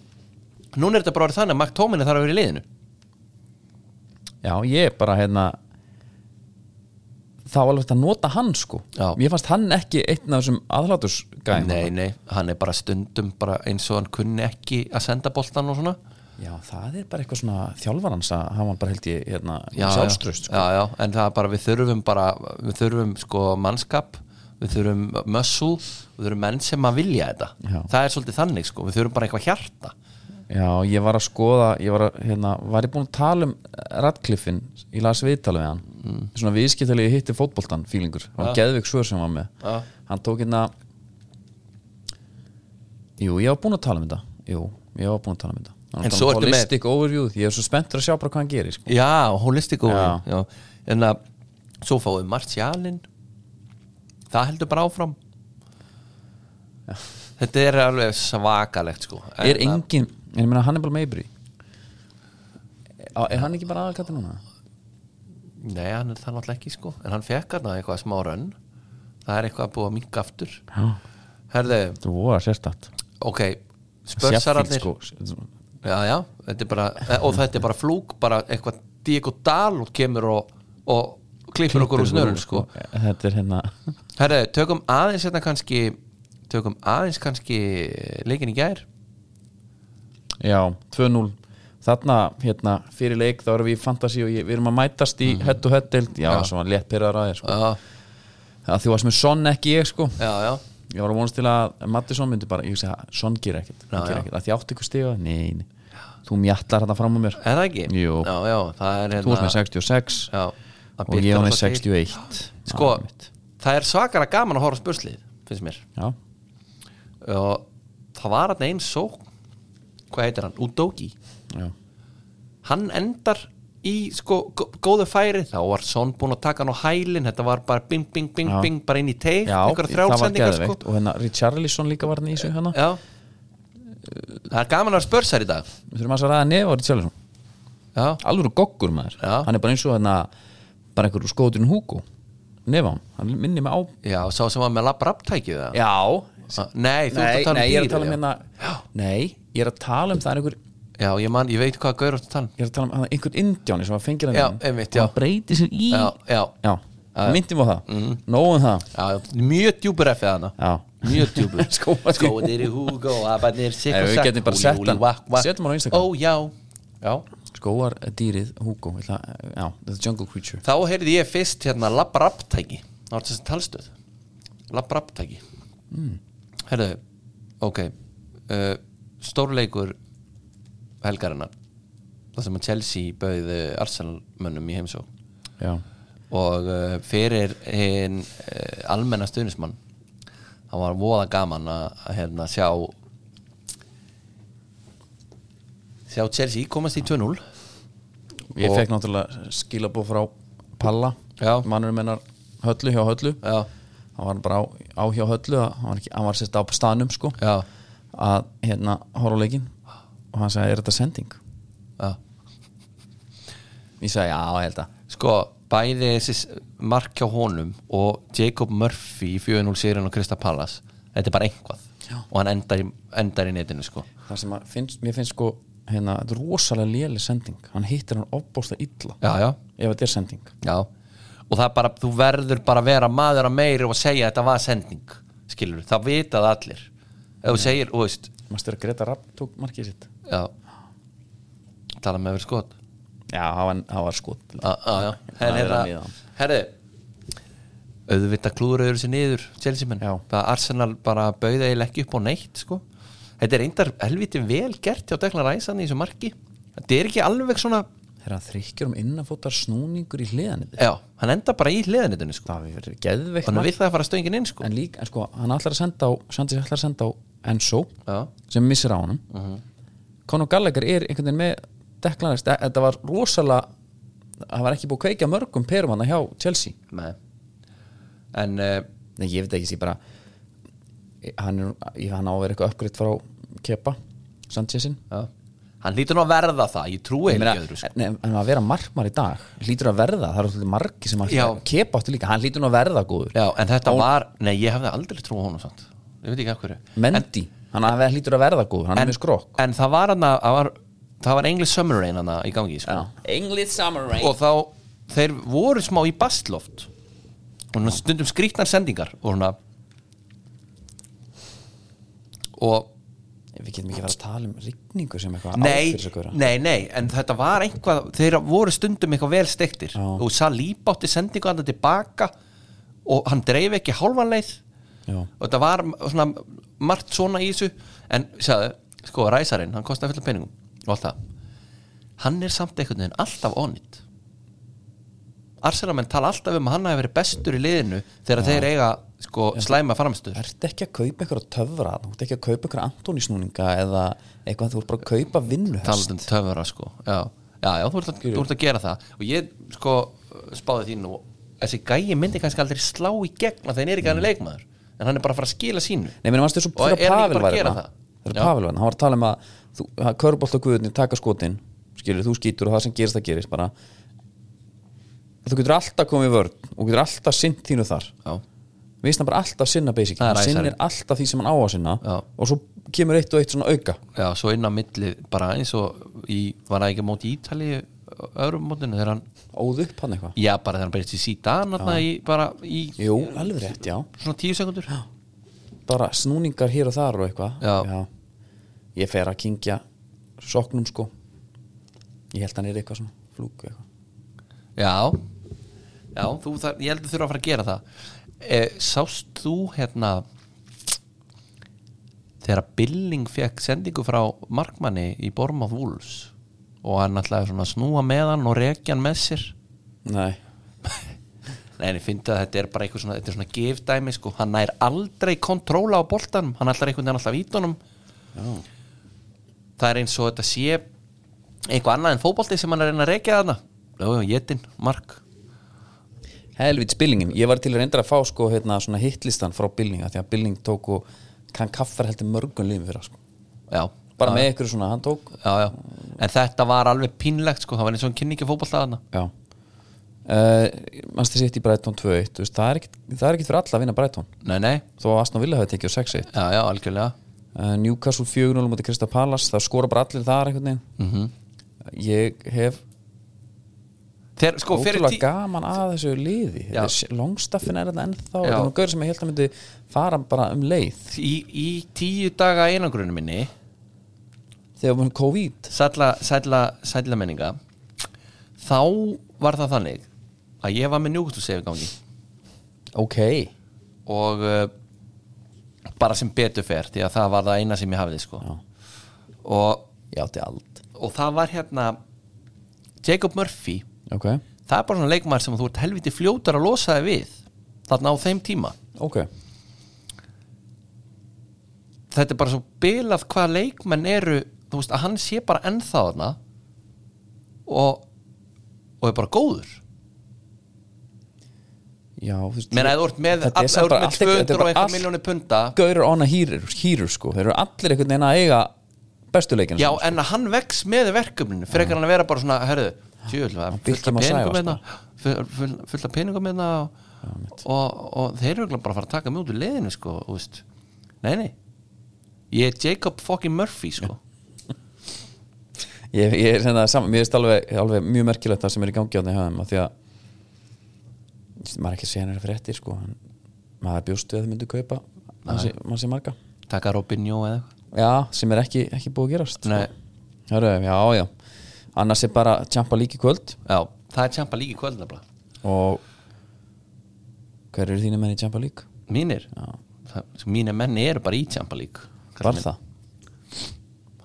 Speaker 2: núna er þetta bara orðið þannig að Mark Tómini þarf að vera í liðinu
Speaker 1: já, ég er bara hérna það var alveg hægt að nota hann sko
Speaker 2: Já.
Speaker 1: mér fannst hann ekki einn af þessum aðlátusgæðum
Speaker 2: nei, nei, hann er bara stundum bara eins og hann kunni ekki að senda boltan og svona
Speaker 1: já, það er bara eitthvað svona þjálfarans að hafa hann bara held ég hérna,
Speaker 2: já,
Speaker 1: sjálfströst
Speaker 2: já, já, já, en það er bara við þurfum bara, við þurfum sko mannskap við þurfum mössu við þurfum menn sem að vilja þetta
Speaker 1: Já.
Speaker 2: það er svolítið þannig sko, við þurfum bara eitthvað hjarta
Speaker 1: Já, ég var að skoða ég var, að, hérna, var ég búin að tala um Radcliffin, ég las viðtalið við hann
Speaker 2: Mm.
Speaker 1: svona viðskiptalegi hitti fótboltan fílingur, það var ja. Geðvik Svör sem var með
Speaker 2: Ja.
Speaker 1: hann tók hérna Jú, ég var búin að tala um þetta Jú, ég var búin að tala um þetta Hann var
Speaker 2: En
Speaker 1: að tala
Speaker 2: svo
Speaker 1: um
Speaker 2: ertu með-
Speaker 1: Holistic overview, ég er svo spenntur að sjá bara hvað hann gerir sko.
Speaker 2: já, holistic og
Speaker 1: Já.
Speaker 2: já. en að svo fáum við Martialin það heldur bara áfram þetta er alveg svakalegt sko En
Speaker 1: Er
Speaker 2: að-
Speaker 1: engin, en ég meina hann er bara meibri Er hann ekki bara aðalkattir núna?
Speaker 2: Nei, hann er það náttúrulega ekki sko En hann fekk hann eitthvað smá rönn Það er eitthvað að búa að minka aftur
Speaker 1: Já,
Speaker 2: Herðu,
Speaker 1: þú voru að sérstætt
Speaker 2: ok Spörsararnir
Speaker 1: sko.
Speaker 2: Já, já, þetta er bara eh, Og þetta er bara flúk, bara eitthvað Diego Dalot kemur og, og klippur okkur úr snörun sko
Speaker 1: Þetta er hérna
Speaker 2: Herðu, tökum aðeins hérna kannski Tökum aðeins kannski Leikin í gær
Speaker 1: Já, 2-0 Þarna, hérna, fyrir leik þá erum við í fantasy og ég, við erum að mætast
Speaker 2: Mhm.
Speaker 1: í hett og hett deild, já, já. svo hann létt pyrraður að þér sko.
Speaker 2: Já,
Speaker 1: að því varst með sonn ekki ég sko
Speaker 2: já, já
Speaker 1: ég var að vonast til að Mattisson myndi bara, ég segi, Son gerir ekkert hann
Speaker 2: Já,
Speaker 1: gerir
Speaker 2: já.
Speaker 1: ekkert, að því áttu ykkur stiga nei, nei, þú mjattar þetta fram á mér
Speaker 2: Er það ekki?
Speaker 1: Jú.
Speaker 2: Já, já, það er hérna-
Speaker 1: þú varst með 66
Speaker 2: Já, það
Speaker 1: og ég
Speaker 2: bitnar
Speaker 1: var með Ah,
Speaker 2: alltaf til.
Speaker 1: 61
Speaker 2: Sko,
Speaker 1: Já, mitt.
Speaker 2: það er svakara gaman að horfa spurslið finnst mér
Speaker 1: já,
Speaker 2: og það var hann einn só hvað heitir hann, Udogi
Speaker 1: já,
Speaker 2: hann endar í sko gó- góðu færi, þá var Son búinn að taka hann á hælinn, þetta var bara bing, bing, bing,
Speaker 1: Já.
Speaker 2: bing bara inn í teig,
Speaker 1: já það var
Speaker 2: einhverja þrjálsendingar
Speaker 1: geðveikt
Speaker 2: sko
Speaker 1: og hérna Richarlison líka var hann í sig hérna
Speaker 2: Já Það er gaman að vera spörsar í dag
Speaker 1: við þurfum aðeins að ræða nefa Richarlison
Speaker 2: Já,
Speaker 1: alveg goggur maður
Speaker 2: Já.
Speaker 1: hann er bara eins og hérna bara einhver skóðurinn Hugo nefa hann, hann minni mig á
Speaker 2: já sá sem var með labbraptækið það
Speaker 1: já,
Speaker 2: Nei, þú ert að
Speaker 1: nei,
Speaker 2: tala
Speaker 1: nei, ég er að tala um
Speaker 2: um dýr
Speaker 1: hérna nei, ég er að tala um það er einhver
Speaker 2: Já, ég man, ég veit hvað gaur út að tala um
Speaker 1: ég er að tala um hann- einhvern indjáni sem var fengir hann
Speaker 2: Já,
Speaker 1: inn
Speaker 2: einmitt,
Speaker 1: og
Speaker 2: já.
Speaker 1: hann breyti sér í
Speaker 2: Já, já,
Speaker 1: já, myndum á það mm. nógum það
Speaker 2: já mjög djúpur effið hana
Speaker 1: já,
Speaker 2: Mjög djúpur
Speaker 1: Skóadýr.
Speaker 2: Skóðir í húg og abarnir sikk
Speaker 1: Nei,
Speaker 2: og
Speaker 1: við
Speaker 2: sakk,
Speaker 1: getum bara
Speaker 2: húli,
Speaker 1: sett
Speaker 2: húli,
Speaker 1: hann.
Speaker 2: vakk, vakk.
Speaker 1: Setjum hann á Instagram.
Speaker 2: Ó, já, já
Speaker 1: skóar dýrið Hugo ég ætla, já, the jungle creature
Speaker 2: Þá heyrði ég fyrst hérna labbraptæki Það var þessi talstöð Labbraptæki mm. Herðu, ok uh, Stórleikur helgarinnar Það sem að Chelsea bauði Arsenal mönnum í heimsó
Speaker 1: já,
Speaker 2: og uh, fyrir hinn uh, almenna stuðnismann það var voða gaman að, að hérna, sjá sjá Chelsea komast í 2-0
Speaker 1: ég
Speaker 2: Og-
Speaker 1: fekk náttúrulega skilabóð frá Palla
Speaker 2: Já.
Speaker 1: mannurum hennar höllu hjá höllu
Speaker 2: Já,
Speaker 1: hann var bara á, á hjá höllu að- hann var, ekki, hann var sérst á staðnum sko
Speaker 2: já,
Speaker 1: að hérna horfa á leikinn og hann sagði er þetta sending
Speaker 2: já
Speaker 1: ég sagði já, ég held að
Speaker 2: Sko, bæði þessi mark hjá honum og Jacob Murphy í 4-0 sérinn og Krista Pallas þetta er bara einhvað
Speaker 1: Já.
Speaker 2: og hann endar í, endar í netinu sko
Speaker 1: það sem að finnst, mér finnst sko hérna, þetta er rosalega léli sending hann hittir hann opbósta illa
Speaker 2: Já, já,
Speaker 1: ef þetta er sending
Speaker 2: já og það er bara, þú verður bara að vera maður að meiri og að segja að þetta var sending skilur, það vita það allir ef þú segir, þú veist
Speaker 1: maður styrir að Greta Rapp tók markið sitt
Speaker 2: já tala með verið skot
Speaker 1: já, það var, sko, það var skot
Speaker 2: Já, já, já.
Speaker 1: Það
Speaker 2: En
Speaker 1: er
Speaker 2: hérna,
Speaker 1: hann í það.
Speaker 2: herri auðvitað klúður öðru sér niður Chelsea menn,
Speaker 1: Já.
Speaker 2: það Arsenal bara bauði eiginlega ekki upp á neitt sko þetta er reyndar helviti vel gert hjá Dekla Ræsan í þessu marki, þetta er ekki alveg svona,
Speaker 1: þegar hann þrykkjur um innanfótar snúningur í hliðan
Speaker 2: já, hann enda bara í hliðanitinu sko,
Speaker 1: það hefur verið geðveikt
Speaker 2: þannig
Speaker 1: mark.
Speaker 2: að við það fara stöngin inn sko,
Speaker 1: en líka, en sko, hann ætlar að senda á Sandis ætlar að senda á Enzo
Speaker 2: já,
Speaker 1: sem missir á honum uh
Speaker 2: Mhm.
Speaker 1: -huh. Conor Gallagher er einhvern veginn með deklanist, þetta var rosalega það var ekki búið að kveika mörgum perum hann hjá Chelsea
Speaker 2: með en uh,
Speaker 1: Nei, ég veit ekki, ég bara hann, er, ég- hann á að vera eitthvað uppgriðt frá Kepa, Sanchezin
Speaker 2: já, hann lítur nú að verða það ég trúi
Speaker 1: Ég
Speaker 2: ekki
Speaker 1: meina,
Speaker 2: öðru sko
Speaker 1: nei, en að vera markmar í dag hlýtur að verða, það eru svolítið margi sem að
Speaker 2: Já.
Speaker 1: Kepa áttu líka, hann hlýtur nú að verða góður
Speaker 2: já, en þetta var, nei ég hefði aldrei trúið honum samt, ég veit ekki af hverju
Speaker 1: Mendy, hann að vera- hlýtur að verða góður hann er með skrokk
Speaker 2: en það var hann að það var, það var English Summer Rain hann í gangi sko.
Speaker 1: English Summer Rain
Speaker 2: og þá þeir voru smá í bastloft og svona stundum skrýtnar sendingar og svona og
Speaker 1: Við getum ekki að vera að tala um rigningu sem eitthvað
Speaker 2: nei,
Speaker 1: áfyrir sig góður
Speaker 2: nei, nei, en þetta var einhvað þeir voru stundum eitthvað vel stektir og Salíb átti sendingu hann tilbaka og hann dreif ekki hálfanleið
Speaker 1: Já,
Speaker 2: og þetta var svona margt svona í þessu en sagði, sko, ræsarinn, hann kostaði fulla peningum og allt það hann er samt einhvern veginn alltaf onnit Arsenalmenn tala alltaf um að hann hafi verið bestur í liðinu þegar þeir eiga sko, slæma framstöð
Speaker 1: ertu ekki að kaupa eitthvað töfra þú ert ekki að kaupa eitthvað Antonísnúninga eða eitthvað þú ert bara að kaupa vinnuhest
Speaker 2: talað um töfra sko já, já, já þú, ert að, þú ert að gera það og ég sko spáði þínu og þessi gæi myndi kannski aldrei slá í gegn að þeir eru ekki hann leikmaður en hann er bara að fara að skila sínu
Speaker 1: Nei, meni, mannstu þessu
Speaker 2: Og er
Speaker 1: þegar
Speaker 2: hann
Speaker 1: Pavel
Speaker 2: ekki bara
Speaker 1: var
Speaker 2: að gera
Speaker 1: hérna
Speaker 2: það?
Speaker 1: Þegar
Speaker 2: Já.
Speaker 1: Pavel var hérna, hann var að tala um að þú, að körbolt og guðunni taka skotin skilur, þú skýtur og það sem gerist það gerist bara þú getur alltaf komið í vörn og getur alltaf sinn þínu þar
Speaker 2: já,
Speaker 1: við snabbar alltaf sinna basic
Speaker 2: Það er
Speaker 1: hann sinnir
Speaker 2: æsarinn.
Speaker 1: alltaf því sem hann á að sinna
Speaker 2: Já.
Speaker 1: og svo kemur eitt og eitt svona auka
Speaker 2: Já, svo inn á milli bara eins og í, var það ekki á móti í Ítali öðrum mótinu þegar hann
Speaker 1: óð upp hann eitthvað
Speaker 2: já, bara þegar hann breytist í síðan í, bara í
Speaker 1: Jú, alveg rétt, já
Speaker 2: svona tíu sekundur já.
Speaker 1: bara snúningar hér og þar og eitthvað
Speaker 2: Já.
Speaker 1: ég fer að kingja soknum sko ég held hann er eitthvað svona flúk eitthvað.
Speaker 2: já þú þar, ég held að þurfa að fara að gera það e, Sást þú hérna þegar Billing fekk sendingu frá markmanni í Bormað Wolves og hann ætlaði svona að snúa með hann og rekja hann með sér
Speaker 1: Nei,
Speaker 2: Nei, en ég fyndi að þetta er bara eitthvað svona, þetta er svona gefdæmi sko, hann nær aldrei kontróla á boltanum, hann ætlar einhvern veginn alltaf vítunum
Speaker 1: já,
Speaker 2: það er eins og þetta sé eitthvað annað en fótbolti sem hann er að reyna að rekja þarna Jó, Jétin, Mark
Speaker 1: helvit spillingin ég var til að reynda að fá sko hérna svona hitlistan frá Billing, af því að Billing tók og kann kaffar heldur mörgum liðum fyrir sko.
Speaker 2: Já,
Speaker 1: bara með ykkur svona, hann tók
Speaker 2: já, já En þetta var alveg pínlegt sko, það var eins og hann kynni ekki fótbolta þarna
Speaker 1: já uh, mannstu sitt í Brighton 2-1 þú veist, það er ekkit- það er ekkit fyrir alla að vinna Brighton
Speaker 2: Nei, nei,
Speaker 1: þó að Aston Villa hafi tekið á 6-1
Speaker 2: já, já, algjörlega
Speaker 1: uh, Newcastle 4-0 mútið Krista Palace það skora bara allir þar einhvern veginn
Speaker 2: Mhm.
Speaker 1: ég hef
Speaker 2: Þegar, sko, fyrir
Speaker 1: ótrúlega
Speaker 2: tí...
Speaker 1: gaman að þessu liði
Speaker 2: Já.
Speaker 1: longstaffin er þetta ennþá
Speaker 2: Já.
Speaker 1: þetta er nú gaur sem ég held að myndi fara bara um leið
Speaker 2: í, í tíu daga einangrunum minni
Speaker 1: þegar maður COVID
Speaker 2: sætla, sætla, sætla menninga þá var það þannig að ég var með njúkustuseyfingangi
Speaker 1: ok,
Speaker 2: og uh, bara sem betur fer því að það var það eina sem ég hafði sko. og,
Speaker 1: ég átti allt
Speaker 2: og það var hérna Jacob Murphy
Speaker 1: ok,
Speaker 2: það er bara svona leikmaður sem þú ert helviti fljótar að losa þig við þarna á þeim tíma
Speaker 1: ok
Speaker 2: þetta er bara svo bilað hvað leikmenn eru þú veist að hann sé bara ennþá þarna og og er bara góður
Speaker 1: já, þú veist
Speaker 2: menn að þú ert með,
Speaker 1: Þetta er
Speaker 2: all,
Speaker 1: samt
Speaker 2: þú ert
Speaker 1: bara
Speaker 2: með
Speaker 1: allt ekki- þetta er
Speaker 2: 200 og
Speaker 1: bara
Speaker 2: eitthvað
Speaker 1: allt-
Speaker 2: miljónu punta
Speaker 1: gaurur ána hýrur, hýrur sko þeir eru allir einhvern veginn að eiga bestu leikina
Speaker 2: já
Speaker 1: sína,
Speaker 2: en að hann vex með verkefninu frekar hann að vera bara svona, herðu tjöfull, það er fullt
Speaker 1: Birkir
Speaker 2: af
Speaker 1: má
Speaker 2: peningum
Speaker 1: sæfa,
Speaker 2: hérna full- full- fullt af peningum hérna og, og, og þeir eru örugglega bara að fara að taka mig út úr liðinu sko, þú veist nei nei, ég er Jacob fucking Murphy sko
Speaker 1: sko. ég, ég er hérna saman, mér finnst alveg, alveg mjög merkilegt það sem er í gangi á þeim höfum af því að þú veist, maður er ekki að segja hennar fréttir sko en maður bjóst við að þau myndu kaupa mann sé, mann sé marga
Speaker 2: taka Robinho eða eitthvað
Speaker 1: já, sem er ekki, ekki búið að gerast
Speaker 2: Nei.
Speaker 1: sko. Hörru, já, já annars er bara tjampa líki kvöld
Speaker 2: já, það er tjampa líka í kvöld nefnilega
Speaker 1: og hver eru þínu menn í tjampa lík?
Speaker 2: mínir, það, sko, mínir menni eru bara í tjampa líka
Speaker 1: Var það?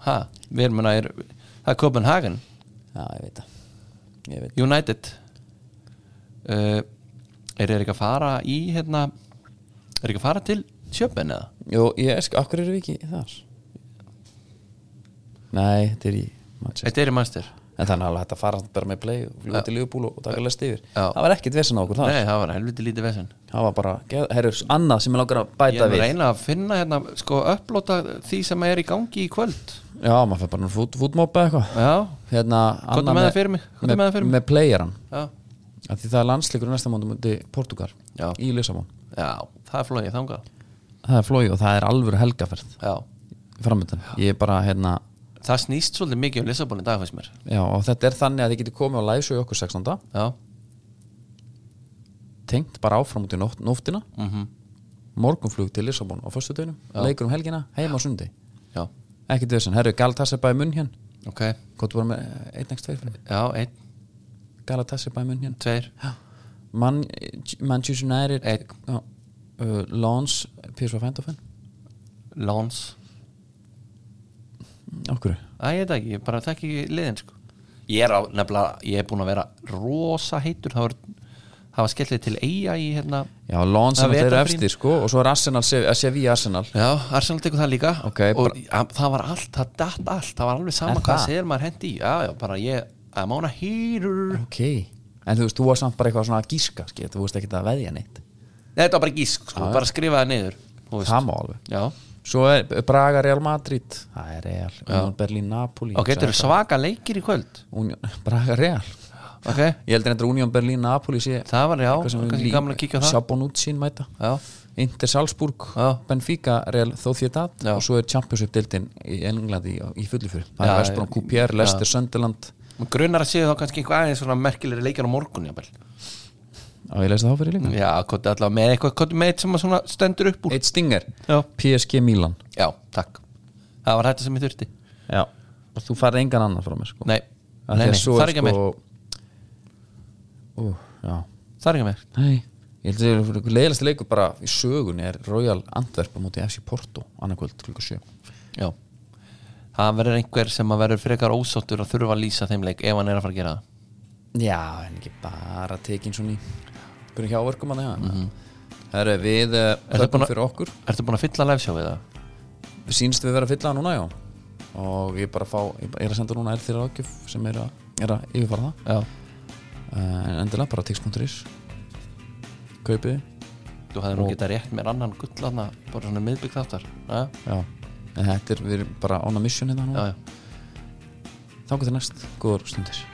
Speaker 2: ha, við erum að er, það er Copenhagen
Speaker 1: Já, ég veit það Ég veit
Speaker 2: United uh, er þeir ekki að fara í hérna, er ekki að fara til Sjöpen eða?
Speaker 1: Jó, ég er sko, akkur eru við ekki þar? Nei, þetta er í Manchester
Speaker 2: Þetta er í mannstyr
Speaker 1: En þannig að þetta fara bara með play og fljúið til Liverpool og taka lest yfir
Speaker 2: Já.
Speaker 1: Það var ekkit vesen á okkur þar
Speaker 2: Nei, það var helviti lítið vesinn
Speaker 1: Það var bara, herrur, annað sem ég langar að
Speaker 2: Ég
Speaker 1: bæta
Speaker 2: er að
Speaker 1: við
Speaker 2: reyna að finna hérna, sko, upplota því sem er í gangi í kvöld
Speaker 1: Já, maður fyrir bara nú fút, fútmópa eitthvað
Speaker 2: Já,
Speaker 1: Hérna,
Speaker 2: Komdu
Speaker 1: annað
Speaker 2: með það fyrir mig, komdu með það fyrir mig.
Speaker 1: Með playeran
Speaker 2: já,
Speaker 1: Af Því það er landsleikur næsta mánu múti Portugal
Speaker 2: Já.
Speaker 1: Í Lissabon
Speaker 2: já það er flóið þangað
Speaker 1: Það er flói og það er alvöru helgaferð
Speaker 2: Já,
Speaker 1: Framöndan, ég er bara, hérna
Speaker 2: það snýst svolítið mikið um Lissabon í dag fannst mér
Speaker 1: Já, og þetta er þannig að þið getur komið á læsjó í okkur 16.
Speaker 2: Já,
Speaker 1: tengt bara áfram út í nótt, nóttina
Speaker 2: Mhm.
Speaker 1: morgunflug til Lissabon á föstudeginum leikur um helgina, heima á sundi
Speaker 2: já,
Speaker 1: ekkert þess að herru Galatasaray munn hér
Speaker 2: ok Já,
Speaker 1: hvað þú bara með einn ekst tveir fyrir
Speaker 2: einn,
Speaker 1: Galatasaray munn hér
Speaker 2: tveir,
Speaker 1: Man, Manchester United
Speaker 2: Einn.
Speaker 1: já, uh, Lons PSV Fændofen
Speaker 2: lóns
Speaker 1: okkur
Speaker 2: Æ, ég veit það ekki, ég bara þekki ekki liðin sko. Ég er á, nefnilega, ég er búin að vera rosa heitur, það var það var skellið til eiga í hérna
Speaker 1: já, Lons
Speaker 2: Það
Speaker 1: sem þeir eru
Speaker 2: vetrarbrín.
Speaker 1: efstir sko og svo er Arsenal, Sevilla Arsenal
Speaker 2: Já, Arsenal tekur það líka
Speaker 1: Ok,
Speaker 2: og að, það var allt, það datt allt það var alveg
Speaker 1: Er
Speaker 2: sama hvað
Speaker 1: það?
Speaker 2: segir maður hendi í Já, já, bara ég, I'm on a heater Nei,
Speaker 1: ok, en þú veist, þú var samt bara eitthvað svona að gíska, skil, þú veist ekki að veðja neitt
Speaker 2: þetta var bara gísk, sko, bara skrifa það niður þú veist.
Speaker 1: það má alveg
Speaker 2: Já,
Speaker 1: Svo er Braga Real Madrid Það er Real, Union Berlin Napoli
Speaker 2: ok, þetta eru svaka leikir í kvöld
Speaker 1: Union, Braga Real
Speaker 2: Ok,
Speaker 1: Ég heldur þetta Union Berlin Napoli sé
Speaker 2: það var já,
Speaker 1: eitthvað sem við
Speaker 2: kannski
Speaker 1: lí-
Speaker 2: gamla að kíkja á það
Speaker 1: Sabonucci mæta
Speaker 2: Já,
Speaker 1: Inter Salzburg,
Speaker 2: Já.
Speaker 1: Benfica Real Sociedad
Speaker 2: Já.
Speaker 1: og svo er Champions League deildin í Englandi í, í fullu fyrir Það
Speaker 2: Já,
Speaker 1: er Vestbrón, QPR, Leicester, Sunderland
Speaker 2: Mér grunar að séu þá kannski eitthvað aðeins svona merkilegri leikir á morgun, jáfnvel
Speaker 1: Á ég lesi það á fyrir líka
Speaker 2: Já, hvað er allavega með eitthvað, hvað er með eitt sem að svona stendur upp úr
Speaker 1: Eitt stinger,
Speaker 2: Já.
Speaker 1: PSG Milan
Speaker 2: Já, takk Það var þetta sem ég þurfti
Speaker 1: Já. og þú farið engan annan frá mér sko.
Speaker 2: Nei,
Speaker 1: Af því
Speaker 2: nei,
Speaker 1: að
Speaker 2: nei,
Speaker 1: svo sko-
Speaker 2: það er ekki að mér
Speaker 1: Ú, já
Speaker 2: Það er ekki að mér
Speaker 1: Nei, Ég held að það er leiðlasti leikur bara í sögunni er Royal Antwerp á móti FC Porto annarkvöld klukka 7
Speaker 2: Já Það verður einhver sem að verður frekar ósáttur að þurfa að lýsa þeim leik ef hann er að fara að gera það
Speaker 1: Já, en ekki bara tekin svona í hvernig hjáverkum að það Herru, við eh, þökkum fyrir okkur
Speaker 2: Ertu búin að fylla lefsjá við það?
Speaker 1: Við sýnst við vera að fylla það núna, já og ég bara fá, ég bara- ég er að senda núna er þeirra ákjöf sem er að, er að yfirfara það
Speaker 2: Já
Speaker 1: Eh, en endilega bara tix.is kaupið þið.
Speaker 2: Þú hefði nú getað rétt mér annan gull aðna bara svona miðbygg þáttar Já,
Speaker 1: já, en þetta er, við erum bara on a mission hérna
Speaker 2: já,
Speaker 1: núna,
Speaker 2: já
Speaker 1: þá getur næst, góður stundir